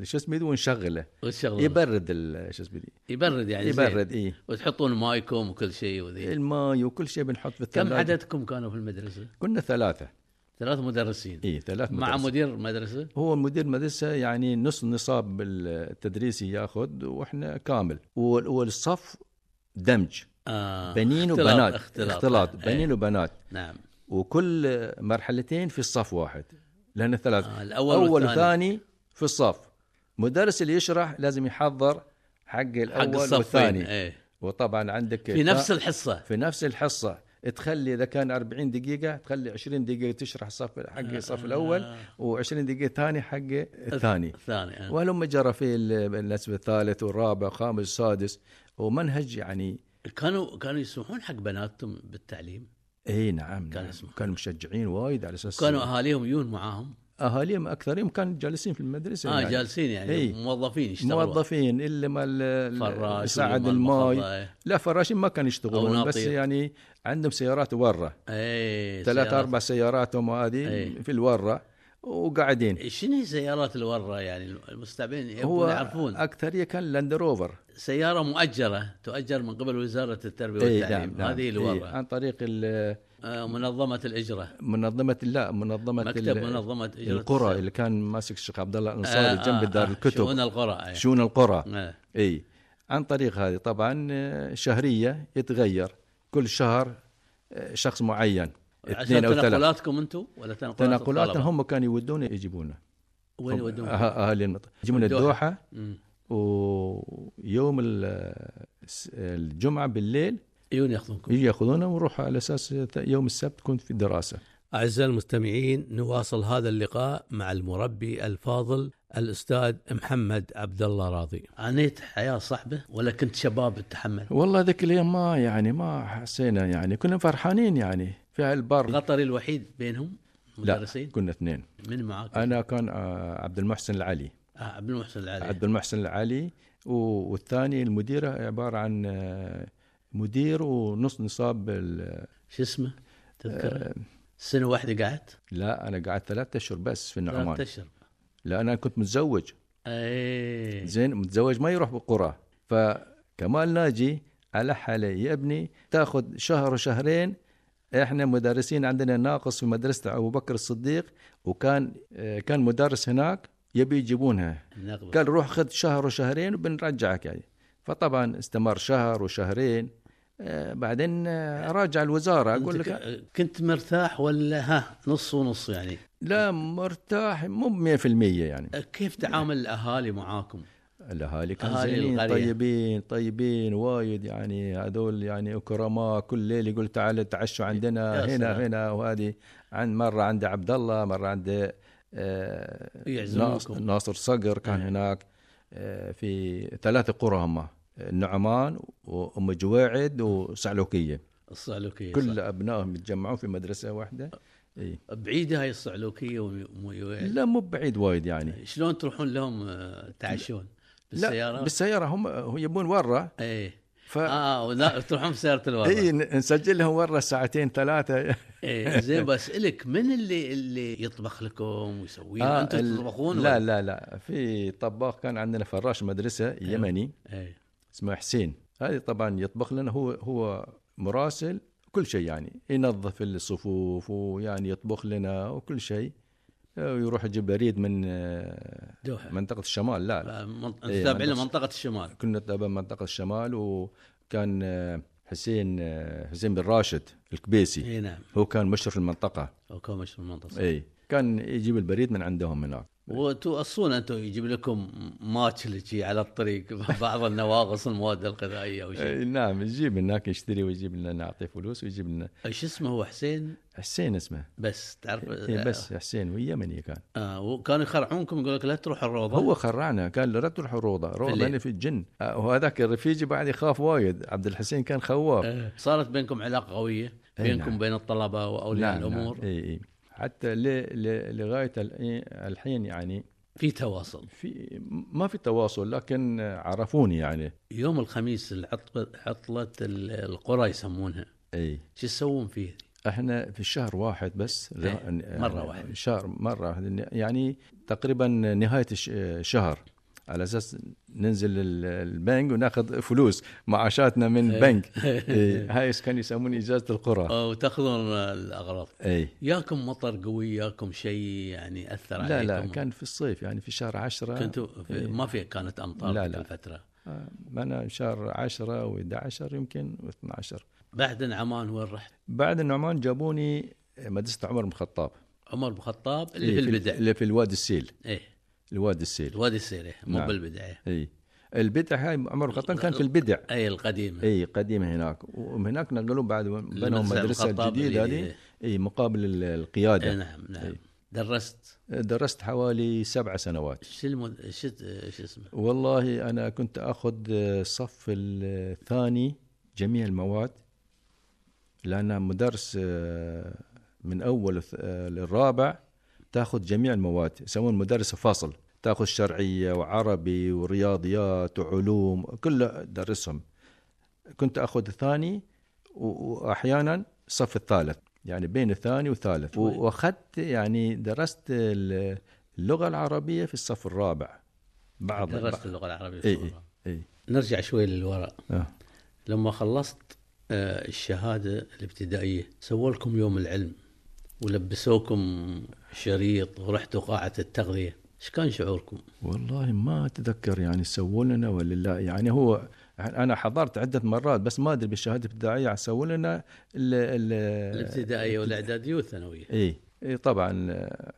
[SPEAKER 2] ال- شو اسمه ذي ونشغله
[SPEAKER 4] والشغله
[SPEAKER 2] يبرد ال- شو اسمه ذي
[SPEAKER 4] يبرد يعني زين.
[SPEAKER 2] يبرد إيه. اي
[SPEAKER 4] وتحطون مايكم وكل شيء وذي
[SPEAKER 2] الماي وكل شيء بنحط في الثلاجة
[SPEAKER 4] كم عددكم كانوا في المدرسه؟
[SPEAKER 2] كنا ثلاثة
[SPEAKER 4] ثلاث مدرسين
[SPEAKER 2] اي إيه، ثلاث
[SPEAKER 4] مع
[SPEAKER 2] مدرسة.
[SPEAKER 4] مدير مدرسه
[SPEAKER 2] هو مدير مدرسة يعني نص نصاب التدريسي ياخذ واحنا كامل وال- والصف دمج
[SPEAKER 4] آه
[SPEAKER 2] بنين
[SPEAKER 4] اختلاط-
[SPEAKER 2] وبنات
[SPEAKER 4] اختلاط,
[SPEAKER 2] اختلاط
[SPEAKER 4] آه،
[SPEAKER 2] بنين وبنات
[SPEAKER 4] إيه. نعم
[SPEAKER 2] وكل مرحلتين في الصف واحد لان ثلاث
[SPEAKER 4] آه الاول
[SPEAKER 2] اول
[SPEAKER 4] والثاني
[SPEAKER 2] وثاني في الصف مدرس اللي يشرح لازم يحضر حق
[SPEAKER 4] حق
[SPEAKER 2] الاول
[SPEAKER 4] الصفين
[SPEAKER 2] والثاني
[SPEAKER 4] ايه
[SPEAKER 2] وطبعا عندك
[SPEAKER 4] في نفس
[SPEAKER 2] تا-
[SPEAKER 4] الحصه
[SPEAKER 2] في نفس الحصه تخلي اذا كان 40 دقيقه تخلي 20 دقيقه تشرح الصف حق
[SPEAKER 4] آه.
[SPEAKER 2] الصف الاول و20 دقيقه ثاني حق الثاني
[SPEAKER 4] الثاني آه.
[SPEAKER 2] وهلم جرى في ال- النسب الثالث والرابع والخامس والسادس ومنهج يعني
[SPEAKER 4] كانوا كانوا يسمحون حق بناتهم بالتعليم
[SPEAKER 2] اي نعم
[SPEAKER 4] كان
[SPEAKER 2] نعم.
[SPEAKER 4] اسمه.
[SPEAKER 2] كانوا مشجعين وايد على اساس
[SPEAKER 4] كانوا اهاليهم يجون معاهم
[SPEAKER 2] اهاليهم اكثرهم كانوا جالسين في المدرسه
[SPEAKER 4] اه جالسين يعني
[SPEAKER 2] إيه.
[SPEAKER 4] موظفين يشتغلوا
[SPEAKER 2] موظفين الا ما ال- ال-
[SPEAKER 4] فراش
[SPEAKER 2] ساعد
[SPEAKER 4] والمرمخضة،
[SPEAKER 2] الماي
[SPEAKER 4] إيه.
[SPEAKER 2] لا فراشين ما كانوا يشتغلون
[SPEAKER 4] ناطية.
[SPEAKER 2] بس يعني عندهم سيارات وره
[SPEAKER 4] ايه
[SPEAKER 2] ثلاث
[SPEAKER 4] سيارات.
[SPEAKER 2] اربع سيارات هم هذه
[SPEAKER 4] إيه.
[SPEAKER 2] في الوره وقاعدين
[SPEAKER 4] شنو هي سيارات الوره يعني المستعبين
[SPEAKER 2] هو
[SPEAKER 4] يبون يعرفون
[SPEAKER 2] اكثريه كان لاند روفر
[SPEAKER 4] سياره مؤجره تؤجر من قبل وزاره التربيه
[SPEAKER 2] إيه،
[SPEAKER 4] والتعليم نعم، هذه
[SPEAKER 2] إيه،
[SPEAKER 4] الوره
[SPEAKER 2] عن طريق ال-
[SPEAKER 4] آه منظمه الاجره
[SPEAKER 2] منظمه لا منظمه
[SPEAKER 4] مكتب
[SPEAKER 2] ال-
[SPEAKER 4] منظمه اجره
[SPEAKER 2] القرى اللي كان ماسك الشيخ عبد الله الانصاري جنب دار
[SPEAKER 4] آه، شؤون
[SPEAKER 2] الكتب
[SPEAKER 4] القرى إيه.
[SPEAKER 2] شؤون القرى
[SPEAKER 4] آه.
[SPEAKER 2] اي عن طريق هذه طبعا آه، شهريه يتغير كل شهر آه، شخص معين
[SPEAKER 4] عشان
[SPEAKER 2] اثنين او ثلاث
[SPEAKER 4] تنقلاتكم انتم ولا تنقلات
[SPEAKER 2] تنقلاتهم
[SPEAKER 4] الطلبة؟
[SPEAKER 2] هم كانوا يودون يجيبونا
[SPEAKER 4] وين
[SPEAKER 2] هم أه-
[SPEAKER 4] يودونكم؟
[SPEAKER 2] اهالي المنطقه يجيبونا
[SPEAKER 4] الدوحة.
[SPEAKER 2] الدوحه
[SPEAKER 4] مم.
[SPEAKER 2] ويوم ال- الس- الجمعه بالليل
[SPEAKER 4] يجون ياخذونكم
[SPEAKER 2] يجي ياخذونا ونروح على اساس يوم السبت كنت في الدراسه
[SPEAKER 4] أعزائي المستمعين نواصل هذا اللقاء مع المربي الفاضل الأستاذ محمد عبد الله راضي عانيت حياة صعبة ولا كنت شباب تتحمل
[SPEAKER 2] والله ذاك اليوم ما يعني ما حسينا يعني كنا فرحانين يعني في البر
[SPEAKER 4] الغطري الوحيد بينهم مدرسين
[SPEAKER 2] كنا اثنين
[SPEAKER 4] من معاك آه
[SPEAKER 2] انا كان آه، عبد المحسن العلي
[SPEAKER 4] عبد المحسن العلي
[SPEAKER 2] عبد المحسن العلي و- والثاني المديره عباره عن آه، مدير ونص نصاب ال-
[SPEAKER 4] شو اسمه تذكر
[SPEAKER 2] آه،
[SPEAKER 4] سنة واحدة قعدت
[SPEAKER 2] لا انا قعدت ثلاثة اشهر بس في
[SPEAKER 4] لا
[SPEAKER 2] النعمان
[SPEAKER 4] تشرب
[SPEAKER 2] لا انا كنت متزوج
[SPEAKER 4] ايه
[SPEAKER 2] زين متزوج ما يروح بالقرى فكمال ناجي ألح علي يا ابني تاخذ شهر وشهرين احنا مدرسين عندنا ناقص في مدرسه ابو بكر الصديق وكان آه، كان مدرس هناك يبي يجيبونها
[SPEAKER 4] النقبة
[SPEAKER 2] قال روح خذ شهر وشهرين وبنرجعك يعني فطبعا استمر شهر وشهرين آه، بعدين آه، راجع الوزاره اقول
[SPEAKER 4] أنت
[SPEAKER 2] لك
[SPEAKER 4] ك- كنت مرتاح ولا ها نص ونص يعني
[SPEAKER 2] لا مرتاح مو 100% يعني
[SPEAKER 4] كيف تعامل الأهالي معاكم
[SPEAKER 2] الاهالي كانوا
[SPEAKER 4] أهالي
[SPEAKER 2] زينين
[SPEAKER 4] القرية.
[SPEAKER 2] طيبين طيبين وايد يعني هذول يعني كرماء كل ليل يقول تعالوا تعشوا
[SPEAKER 4] يا
[SPEAKER 2] عندنا هنا
[SPEAKER 4] سلام.
[SPEAKER 2] هنا وهذه عن مره عند عبد الله مره عند آه،
[SPEAKER 4] يعزمونكم.
[SPEAKER 2] ناص- ناصر صقر كان
[SPEAKER 4] إيه.
[SPEAKER 2] هناك آه، في ثلاثة قرى هم النعمان وام جواعد وسعلوكيه
[SPEAKER 4] الصعلوكية إيه، صح؟
[SPEAKER 2] كل ابنائهم يتجمعون في مدرسه واحده إيه.
[SPEAKER 4] بعيدة هاي الصعلوكية وميوعد
[SPEAKER 2] لا مو بعيد وايد يعني
[SPEAKER 4] شلون تروحون لهم آه، تعشون
[SPEAKER 2] لا
[SPEAKER 4] بالسيارة؟ بس...
[SPEAKER 2] بالسياره هم هم يبون ورا
[SPEAKER 4] ايه
[SPEAKER 2] ف...
[SPEAKER 4] اه ولا تروحون بسيارة الورق
[SPEAKER 2] اي
[SPEAKER 4] ايه,
[SPEAKER 2] إيه، ن- نسجل لهم مره ساعتين ثلاثه
[SPEAKER 4] إيه، زين بسألك من اللي اللي يطبخ لكم ويسوي آه
[SPEAKER 2] آه،
[SPEAKER 4] انتم
[SPEAKER 2] ال-
[SPEAKER 4] تطبخون
[SPEAKER 2] لا
[SPEAKER 4] ولا؟
[SPEAKER 2] لا لا في طباخ كان عندنا فراش مدرسه يمني
[SPEAKER 4] ايه
[SPEAKER 2] اسمه حسين هذا طبعا يطبخ لنا هو هو مراسل كل شيء يعني ينظف الصفوف ويعني يطبخ لنا وكل شيء ويروح يجيب بريد من آه،
[SPEAKER 4] دوحة
[SPEAKER 2] منطقه الشمال لا لا
[SPEAKER 4] آه، منط-
[SPEAKER 2] إيه،
[SPEAKER 4] تابعين
[SPEAKER 2] منطقة-
[SPEAKER 4] لمنطقة الشمال
[SPEAKER 2] كنا تابع منطقه الشمال وكان آه، حسين آه، حسين بن راشد الكبيسي
[SPEAKER 4] اي نعم
[SPEAKER 2] هو كان مشرف المنطقه
[SPEAKER 4] وكم مش المنطقة
[SPEAKER 2] اي كان يجيب البريد من عندهم هناك
[SPEAKER 4] وتوصون انتم يجيب لكم ماتش شي على الطريق بعض النواقص المواد الغذائيه او شيء
[SPEAKER 2] إي نعم يجيب هناك يشتري ويجيب لنا نعطيه فلوس ويجيب لنا
[SPEAKER 4] ايش اسمه هو حسين
[SPEAKER 2] حسين اسمه
[SPEAKER 4] بس تعرف
[SPEAKER 2] إي إيه، بس حسين ويمني كان
[SPEAKER 4] آه وكانوا يخرعونكم يقول لك لا تروح الروضه
[SPEAKER 2] هو خرعنا قال له لا تروح روضه روضه
[SPEAKER 4] الليل.
[SPEAKER 2] هنا في الجن آه، وهذاك الرفيجي بعد يخاف وايد عبد الحسين كان خواف
[SPEAKER 4] آه صارت بينكم علاقه قويه
[SPEAKER 2] إي
[SPEAKER 4] بينكم
[SPEAKER 2] نعم.
[SPEAKER 4] وبين الطلبه واولياء الامور
[SPEAKER 2] اي اي نعم. حتى ل- ل- لغايه الآن- الحين يعني
[SPEAKER 4] في تواصل
[SPEAKER 2] في ما في تواصل لكن عرفوني يعني
[SPEAKER 4] يوم الخميس العطله عطله ال- القرى يسمونها
[SPEAKER 2] اي
[SPEAKER 4] شو تسوون فيه؟
[SPEAKER 2] احنا في الشهر واحد بس يعني
[SPEAKER 4] إيه، مرة واحدة.
[SPEAKER 2] شهر مره واحدة. يعني تقريبا نهايه الش- الشهر على اساس ننزل ال- البنك وناخذ فلوس معاشاتنا من البنك إيه، هاي كانوا يسمون اجازه القرى إيه.
[SPEAKER 4] آه، وتاخذون آه، الاغراض
[SPEAKER 2] اي
[SPEAKER 4] ياكم مطر قوي ياكم شيء يعني اثر
[SPEAKER 2] لا
[SPEAKER 4] عليكم
[SPEAKER 2] لا كان في الصيف يعني في شهر عشرة
[SPEAKER 4] كنتوا في- ما في كانت امطار
[SPEAKER 2] لا،
[SPEAKER 4] لا لا.
[SPEAKER 2] لا.
[SPEAKER 4] الفتره
[SPEAKER 2] آه، انا شهر عشرة و11 يمكن و12
[SPEAKER 4] بعد عمان وين رحت؟
[SPEAKER 2] بعد النعمان جابوني مدرسه عمر بن الخطاب
[SPEAKER 4] عمر بن الخطاب اللي
[SPEAKER 2] إيه،
[SPEAKER 4] في البدع
[SPEAKER 2] اللي في الوادي السيل
[SPEAKER 4] ايه
[SPEAKER 2] الوادي السيل
[SPEAKER 4] الوادي السيلة مو
[SPEAKER 2] نعم.
[SPEAKER 4] بالبداية
[SPEAKER 2] اي البدع هاي عمر قطن كان في البدع
[SPEAKER 4] أي القديمة
[SPEAKER 2] اي قديمه هناك وهناك نقلوا بعد بنوا
[SPEAKER 4] المدرسة
[SPEAKER 2] مدرسه
[SPEAKER 4] الخطاب
[SPEAKER 2] جديده
[SPEAKER 4] اللي-
[SPEAKER 2] هذه اي مقابل ال- القياده
[SPEAKER 4] إيه، نعم نعم
[SPEAKER 2] إيه.
[SPEAKER 4] درست
[SPEAKER 2] درست حوالي سبع سنوات
[SPEAKER 4] شو المد... شو شو اسمه
[SPEAKER 2] والله انا كنت اخذ صف الثاني جميع المواد لان مدرس آه، من اول الث- آه، للرابع تاخذ جميع المواد يسمون مدرس فاصل تاخذ شرعيه وعربي ورياضيات وعلوم كله درسهم كنت اخذ الثاني و- واحيانا صف الثالث يعني بين الثاني والثالث و- واخذت يعني درست ال- اللغه العربيه في الصف الرابع بعض
[SPEAKER 4] درست اللغة العربية في
[SPEAKER 2] اي
[SPEAKER 4] الغرب.
[SPEAKER 2] اي اي
[SPEAKER 4] نرجع شوي للوراء
[SPEAKER 2] آه.
[SPEAKER 4] لما خلصت آه، الشهادة الابتدائية سووا لكم يوم العلم ولبسوكم شريط ورحتوا قاعة التغذية ايش كان
[SPEAKER 2] آه،
[SPEAKER 4] شعوركم؟
[SPEAKER 2] والله ما اتذكر يعني سووا لنا ولا لا يعني هو انا حضرت عده مرات بس ما ادري بالشهاده الابتدائيه سووا لنا ال- ال-
[SPEAKER 4] الابتدائية والإعدادية والثانوية
[SPEAKER 2] اي اي طبعا آه،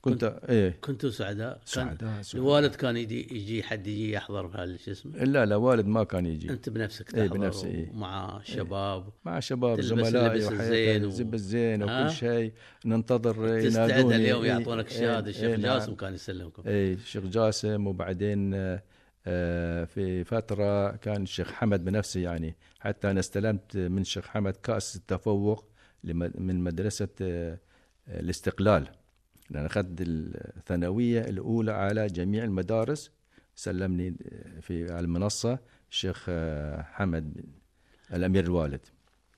[SPEAKER 2] كنت ايه
[SPEAKER 4] كنتوا سعداء؟ كان
[SPEAKER 2] سعداء- سعداء.
[SPEAKER 4] الوالد كان يجي يجي حد يجي يحضر بهال- شو اسمه
[SPEAKER 2] لا لا والد ما كان يجي
[SPEAKER 4] انت بنفسك
[SPEAKER 2] إيه،
[SPEAKER 4] تحضر
[SPEAKER 2] بنفسي، إيه.
[SPEAKER 4] مع شباب
[SPEAKER 2] مع شباب
[SPEAKER 4] تلبس
[SPEAKER 2] زملائي
[SPEAKER 4] اللبس الزين
[SPEAKER 2] وحياتي
[SPEAKER 4] و-
[SPEAKER 2] زب الزين
[SPEAKER 4] ها؟
[SPEAKER 2] وكل شيء ننتظر
[SPEAKER 4] تستعد
[SPEAKER 2] ينادوني
[SPEAKER 4] اليوم
[SPEAKER 2] إيه،
[SPEAKER 4] يعطونك
[SPEAKER 2] إيه،
[SPEAKER 4] الشهاده
[SPEAKER 2] إيه،
[SPEAKER 4] الشيخ
[SPEAKER 2] نعم.
[SPEAKER 4] جاسم كان يسلمكم
[SPEAKER 2] اي الشيخ جاسم وبعدين آه، آه، في فتره كان الشيخ حمد بنفسه يعني حتى انا استلمت من الشيخ حمد كاس التفوق لم- من مدرسه آه، آه، الاستقلال لان اخذت الثانويه الاولى على جميع المدارس سلمني آه، في على المنصه الشيخ آه، حمد الامير الوالد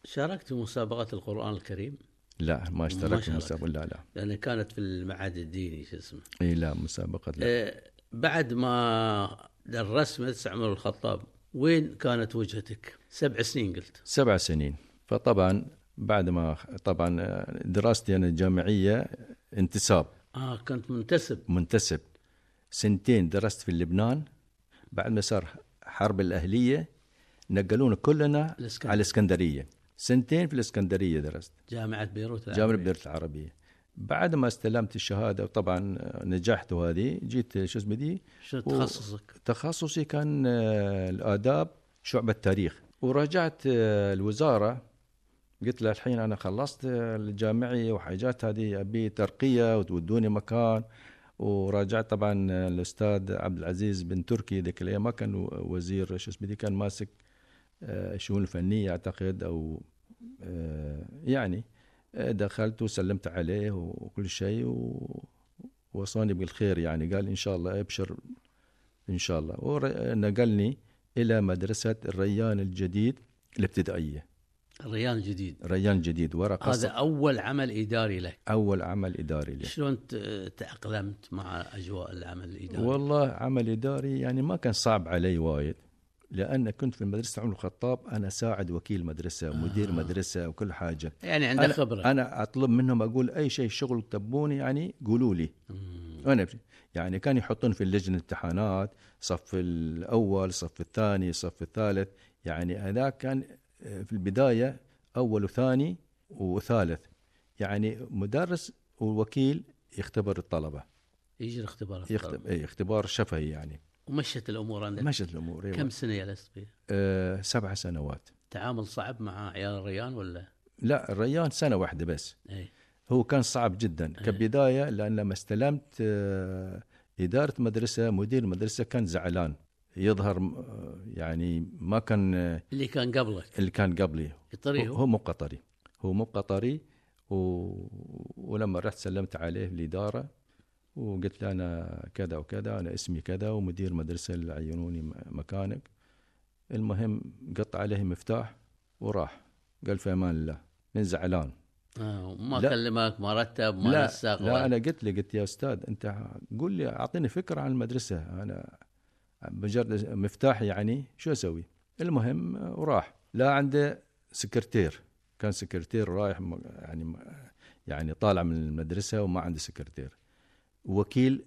[SPEAKER 4] شاركت في مسابقه القران الكريم
[SPEAKER 2] لا ما اشتركت في
[SPEAKER 4] شاركت.
[SPEAKER 2] مسابقه لا لا
[SPEAKER 4] لان كانت في المعهد الديني شو اسمه
[SPEAKER 2] اي لا مسابقه لا
[SPEAKER 4] آه، بعد ما درست مدرسه عمر الخطاب وين كانت وجهتك؟ سبع سنين قلت
[SPEAKER 2] سبع سنين فطبعا بعد ما طبعا دراستي انا الجامعيه انتساب
[SPEAKER 4] اه كنت منتسب
[SPEAKER 2] منتسب سنتين درست في لبنان بعد ما صار حرب الاهليه نقلونا كلنا
[SPEAKER 4] الإسكندرية.
[SPEAKER 2] على الاسكندريه سنتين في الاسكندريه درست
[SPEAKER 4] جامعه بيروت
[SPEAKER 2] جامعه بيروت العربيه بعد ما استلمت الشهاده وطبعا نجحت وهذه جيت شو اسمه دي
[SPEAKER 4] شو
[SPEAKER 2] و-
[SPEAKER 4] تخصصك؟
[SPEAKER 2] تخصصي كان آه، الآداب شعبة تاريخ وراجعت آه، الوزارة قلت لها الحين أنا خلصت آه، الجامعي وحاجات هذه أبي ترقية وتودوني مكان وراجعت طبعا آه، الأستاذ عبد العزيز بن تركي ذيك الأيام ما كان و- وزير شو اسمه دي، كان ماسك آه، الشؤون الفنية أعتقد أو آه، يعني آه، دخلت وسلمت عليه وكل شيء و- ووصاني بالخير يعني قال إن شاء الله أبشر ان شاء الله ونقلني الى مدرسه الريان الجديد الابتدائيه
[SPEAKER 4] الريان الجديد
[SPEAKER 2] ريان الجديد ورقه
[SPEAKER 4] هذا
[SPEAKER 2] هذا
[SPEAKER 4] اول عمل اداري لك
[SPEAKER 2] اول عمل اداري لي
[SPEAKER 4] شلون ت- تاقلمت مع اجواء العمل الاداري؟
[SPEAKER 2] والله عمل اداري يعني ما كان صعب علي وايد لان كنت في مدرسه عمر الخطاب انا ساعد وكيل مدرسه ومدير مدرسه وكل حاجه
[SPEAKER 4] يعني عندك
[SPEAKER 2] أنا,
[SPEAKER 4] خبره
[SPEAKER 2] انا اطلب منهم اقول اي شيء شغل تبوني يعني قولوا لي
[SPEAKER 4] مم.
[SPEAKER 2] وانا أمشي. يعني كان يحطون في اللجنه امتحانات صف الاول صف الثاني صف الثالث يعني هذا كان آه، في البدايه اول وثاني وثالث يعني مدرس ووكيل يختبر الطلبه
[SPEAKER 4] يجري اختبارات
[SPEAKER 2] يختبر إيه اختبار شفهي يعني
[SPEAKER 4] ومشت الامور عندك
[SPEAKER 2] مشت الامور
[SPEAKER 4] كم
[SPEAKER 2] إيه.
[SPEAKER 4] سنه جلست فيها؟
[SPEAKER 2] آه سبع سنوات
[SPEAKER 4] تعامل صعب مع عيال الريان ولا؟ إيه.
[SPEAKER 2] لا الريان سنه واحده بس
[SPEAKER 4] اي
[SPEAKER 2] هو كان صعب جدا كبدايه لان لما استلمت آه، اداره مدرسه مدير المدرسه كان زعلان يظهر آه، يعني ما كان آه،
[SPEAKER 4] اللي كان قبلك
[SPEAKER 2] اللي كان قبلي
[SPEAKER 4] قطري
[SPEAKER 2] هو-
[SPEAKER 4] هو
[SPEAKER 2] هو مو قطري هو مو قطري و... ولما رحت سلمت عليه الاداره وقلت له انا كذا وكذا انا اسمي كذا ومدير مدرسه اللي عينوني م- مكانك المهم قطع عليه مفتاح وراح قال في امان الله من زعلان
[SPEAKER 4] آه ما
[SPEAKER 2] لا.
[SPEAKER 4] كلمك ما رتب ما
[SPEAKER 2] لا
[SPEAKER 4] نسق
[SPEAKER 2] لا
[SPEAKER 4] ولا-
[SPEAKER 2] انا قلت له قلت يا استاذ انت قول لي اعطيني فكره عن المدرسه انا مجرد مفتاح يعني شو اسوي؟ المهم آه، وراح لا عنده سكرتير كان سكرتير رايح م- يعني م- يعني طالع من المدرسه وما عنده سكرتير وكيل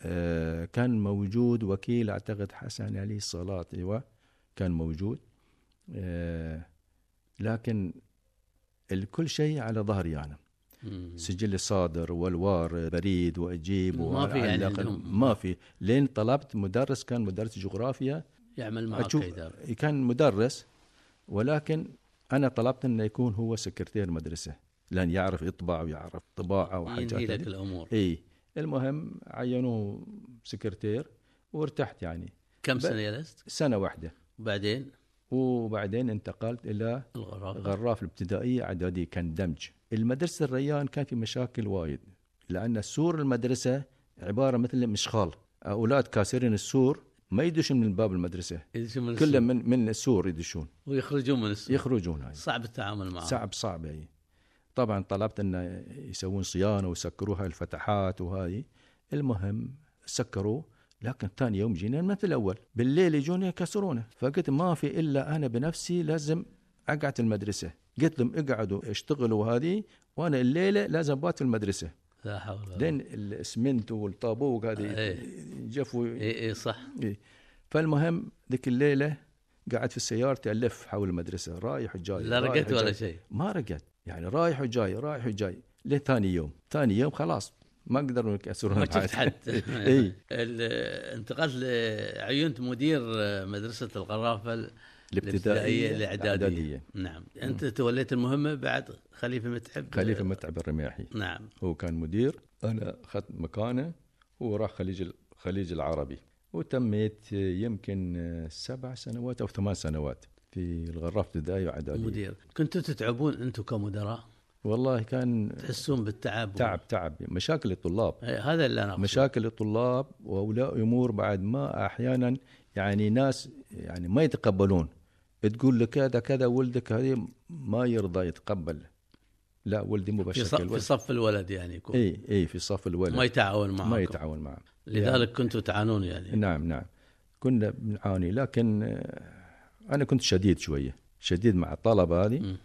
[SPEAKER 2] آه، كان موجود وكيل اعتقد حسن علي صلات ايوه كان موجود آه، لكن الكل شيء على ظهري انا سجل الصادر والوار بريد واجيب
[SPEAKER 4] ما في يعني
[SPEAKER 2] وأعلق.
[SPEAKER 4] عندهم.
[SPEAKER 2] ما في لين طلبت مدرس كان مدرس جغرافيا
[SPEAKER 4] يعمل معك
[SPEAKER 2] أشوف
[SPEAKER 4] إدارة
[SPEAKER 2] كان مدرس ولكن انا طلبت انه يكون هو سكرتير مدرسه لان يعرف يطبع ويعرف طباعه وحاجات
[SPEAKER 4] ينهي لك
[SPEAKER 2] هذي.
[SPEAKER 4] الأمور
[SPEAKER 2] اي المهم عينوه سكرتير وارتحت يعني
[SPEAKER 4] كم
[SPEAKER 2] ب-
[SPEAKER 4] سنة جلست
[SPEAKER 2] سنه واحده
[SPEAKER 4] وبعدين
[SPEAKER 2] وبعدين انتقلت الى
[SPEAKER 4] الغرفة
[SPEAKER 2] غراف الابتدائيه اعدادي كان دمج المدرسه الريان كان في مشاكل وايد لان سور المدرسه عباره مثل مشخال اولاد كاسرين السور ما يدشون من باب المدرسه
[SPEAKER 4] يدشون من
[SPEAKER 2] كلهم
[SPEAKER 4] السوق
[SPEAKER 2] من من السور يدشون
[SPEAKER 4] ويخرجون من السوق
[SPEAKER 2] يخرجون هاي
[SPEAKER 4] صعب التعامل معهم
[SPEAKER 2] صعب صعب هي طبعا طلبت انه يسوون صيانه ويسكروا هاي الفتحات وهاي المهم سكروه لكن ثاني يوم جينا مثل الاول بالليل يجون يكسرونه فقلت ما في الا انا بنفسي لازم اقعد المدرسه قلت لهم اقعدوا اشتغلوا هذه وانا الليله لازم بات المدرسه
[SPEAKER 4] لا حول ولا قوة
[SPEAKER 2] لين الاسمنت والطابوق هذه
[SPEAKER 4] آه. إيه.
[SPEAKER 2] جفوا
[SPEAKER 4] اي اي صح
[SPEAKER 2] إيه. فالمهم ذيك الليله قاعد في السيارة الف حول المدرسه رايح وجاي
[SPEAKER 4] لا
[SPEAKER 2] طيب، رايح
[SPEAKER 4] رقدت ولا
[SPEAKER 2] وجاي.
[SPEAKER 4] شيء
[SPEAKER 2] ما رقد يعني رايح وجاي رايح وجاي لثاني يوم ثاني يوم خلاص ما قدروا يكسرون
[SPEAKER 4] ما شفت حد
[SPEAKER 2] اي
[SPEAKER 4] ال- انتقلت ل- عينت مدير آه، مدرسة الغرافة ال- الابتدائية الإعدادية نعم أنت توليت المهمة بعد خليفة متعب
[SPEAKER 2] خليفه متعب الرميحي
[SPEAKER 4] نعم
[SPEAKER 2] هو كان مدير انا اخذت مكانه وراح خليج الخليج العربي وتميت يمكن سبع سنوات او ثمان سنوات في الغرافه الابتدائيه واعداديه
[SPEAKER 4] مدير كنتوا تتعبون أنتم كمدراء
[SPEAKER 2] والله كان
[SPEAKER 4] تحسون بالتعب
[SPEAKER 2] تعب تعب مشاكل الطلاب
[SPEAKER 4] إيه، هذا اللي أنا أقصده
[SPEAKER 2] مشاكل الطلاب وهؤلاء امور بعد ما احيانا يعني ناس يعني ما يتقبلون تقول لك هذا كذا ولدك هذه ما يرضى يتقبل لا ولدي مو
[SPEAKER 4] في
[SPEAKER 2] بشكل
[SPEAKER 4] صف, في
[SPEAKER 2] الولد
[SPEAKER 4] صف الولد يعني يكون
[SPEAKER 2] اي اي في صف الولد
[SPEAKER 4] ما يتعاون معكم
[SPEAKER 2] ما يتعاون معه
[SPEAKER 4] لذلك كنتوا تعانون يعني
[SPEAKER 2] نعم نعم كنا بنعاني لكن آه، انا كنت شديد شويه شديد مع الطلبه هذه
[SPEAKER 4] مم.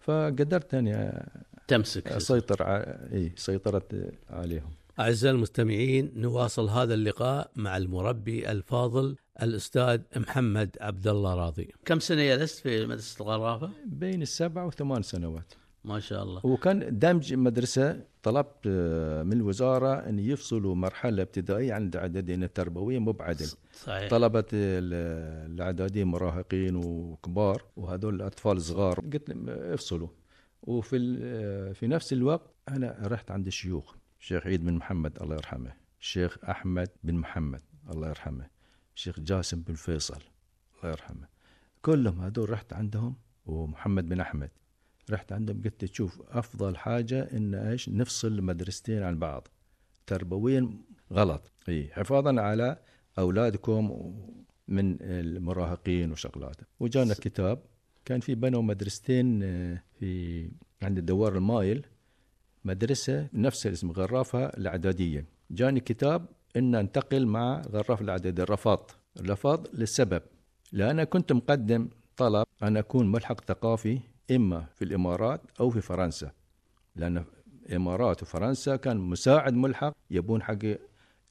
[SPEAKER 2] فقدرت اني
[SPEAKER 4] تمسك
[SPEAKER 2] اسيطر ع- اي سيطرت عليهم
[SPEAKER 4] أعزائي المستمعين نواصل هذا اللقاء مع المربي الفاضل الأستاذ محمد عبد الله راضي كم سنة جلست في مدرسة الغرافة؟
[SPEAKER 2] بين السبع وثمان سنوات
[SPEAKER 4] ما شاء الله
[SPEAKER 2] وكان دمج مدرسة طلبت آه، من الوزارة أن يفصلوا مرحلة ابتدائية عن الإعدادية التربوية مو بعدل
[SPEAKER 4] صحيح
[SPEAKER 2] طلبة ال- الإعدادية مراهقين وكبار وهذول الأطفال صغار قلت لهم آه، افصلوا وفي ال- آه، في نفس الوقت أنا رحت عند الشيوخ الشيخ عيد بن محمد الله يرحمه الشيخ أحمد بن محمد الله يرحمه الشيخ جاسم بن فيصل الله يرحمه كلهم هذول رحت عندهم ومحمد بن أحمد رحت عندهم قلت تشوف افضل حاجه ان ايش نفصل المدرستين عن بعض تربويا غلط اي حفاظا على اولادكم من المراهقين وشغلات وجانا كتاب كان في بنوا مدرستين آه، في عند الدوار المايل مدرسه نفس الاسم غرافه الاعداديه جاني كتاب ان انتقل مع غراف الاعداديه الرفاض الرفاض للسبب لأنا كنت مقدم طلب أن أكون ملحق ثقافي إما في الإمارات أو في فرنسا لأن الإمارات وفرنسا كان مساعد ملحق يبون حق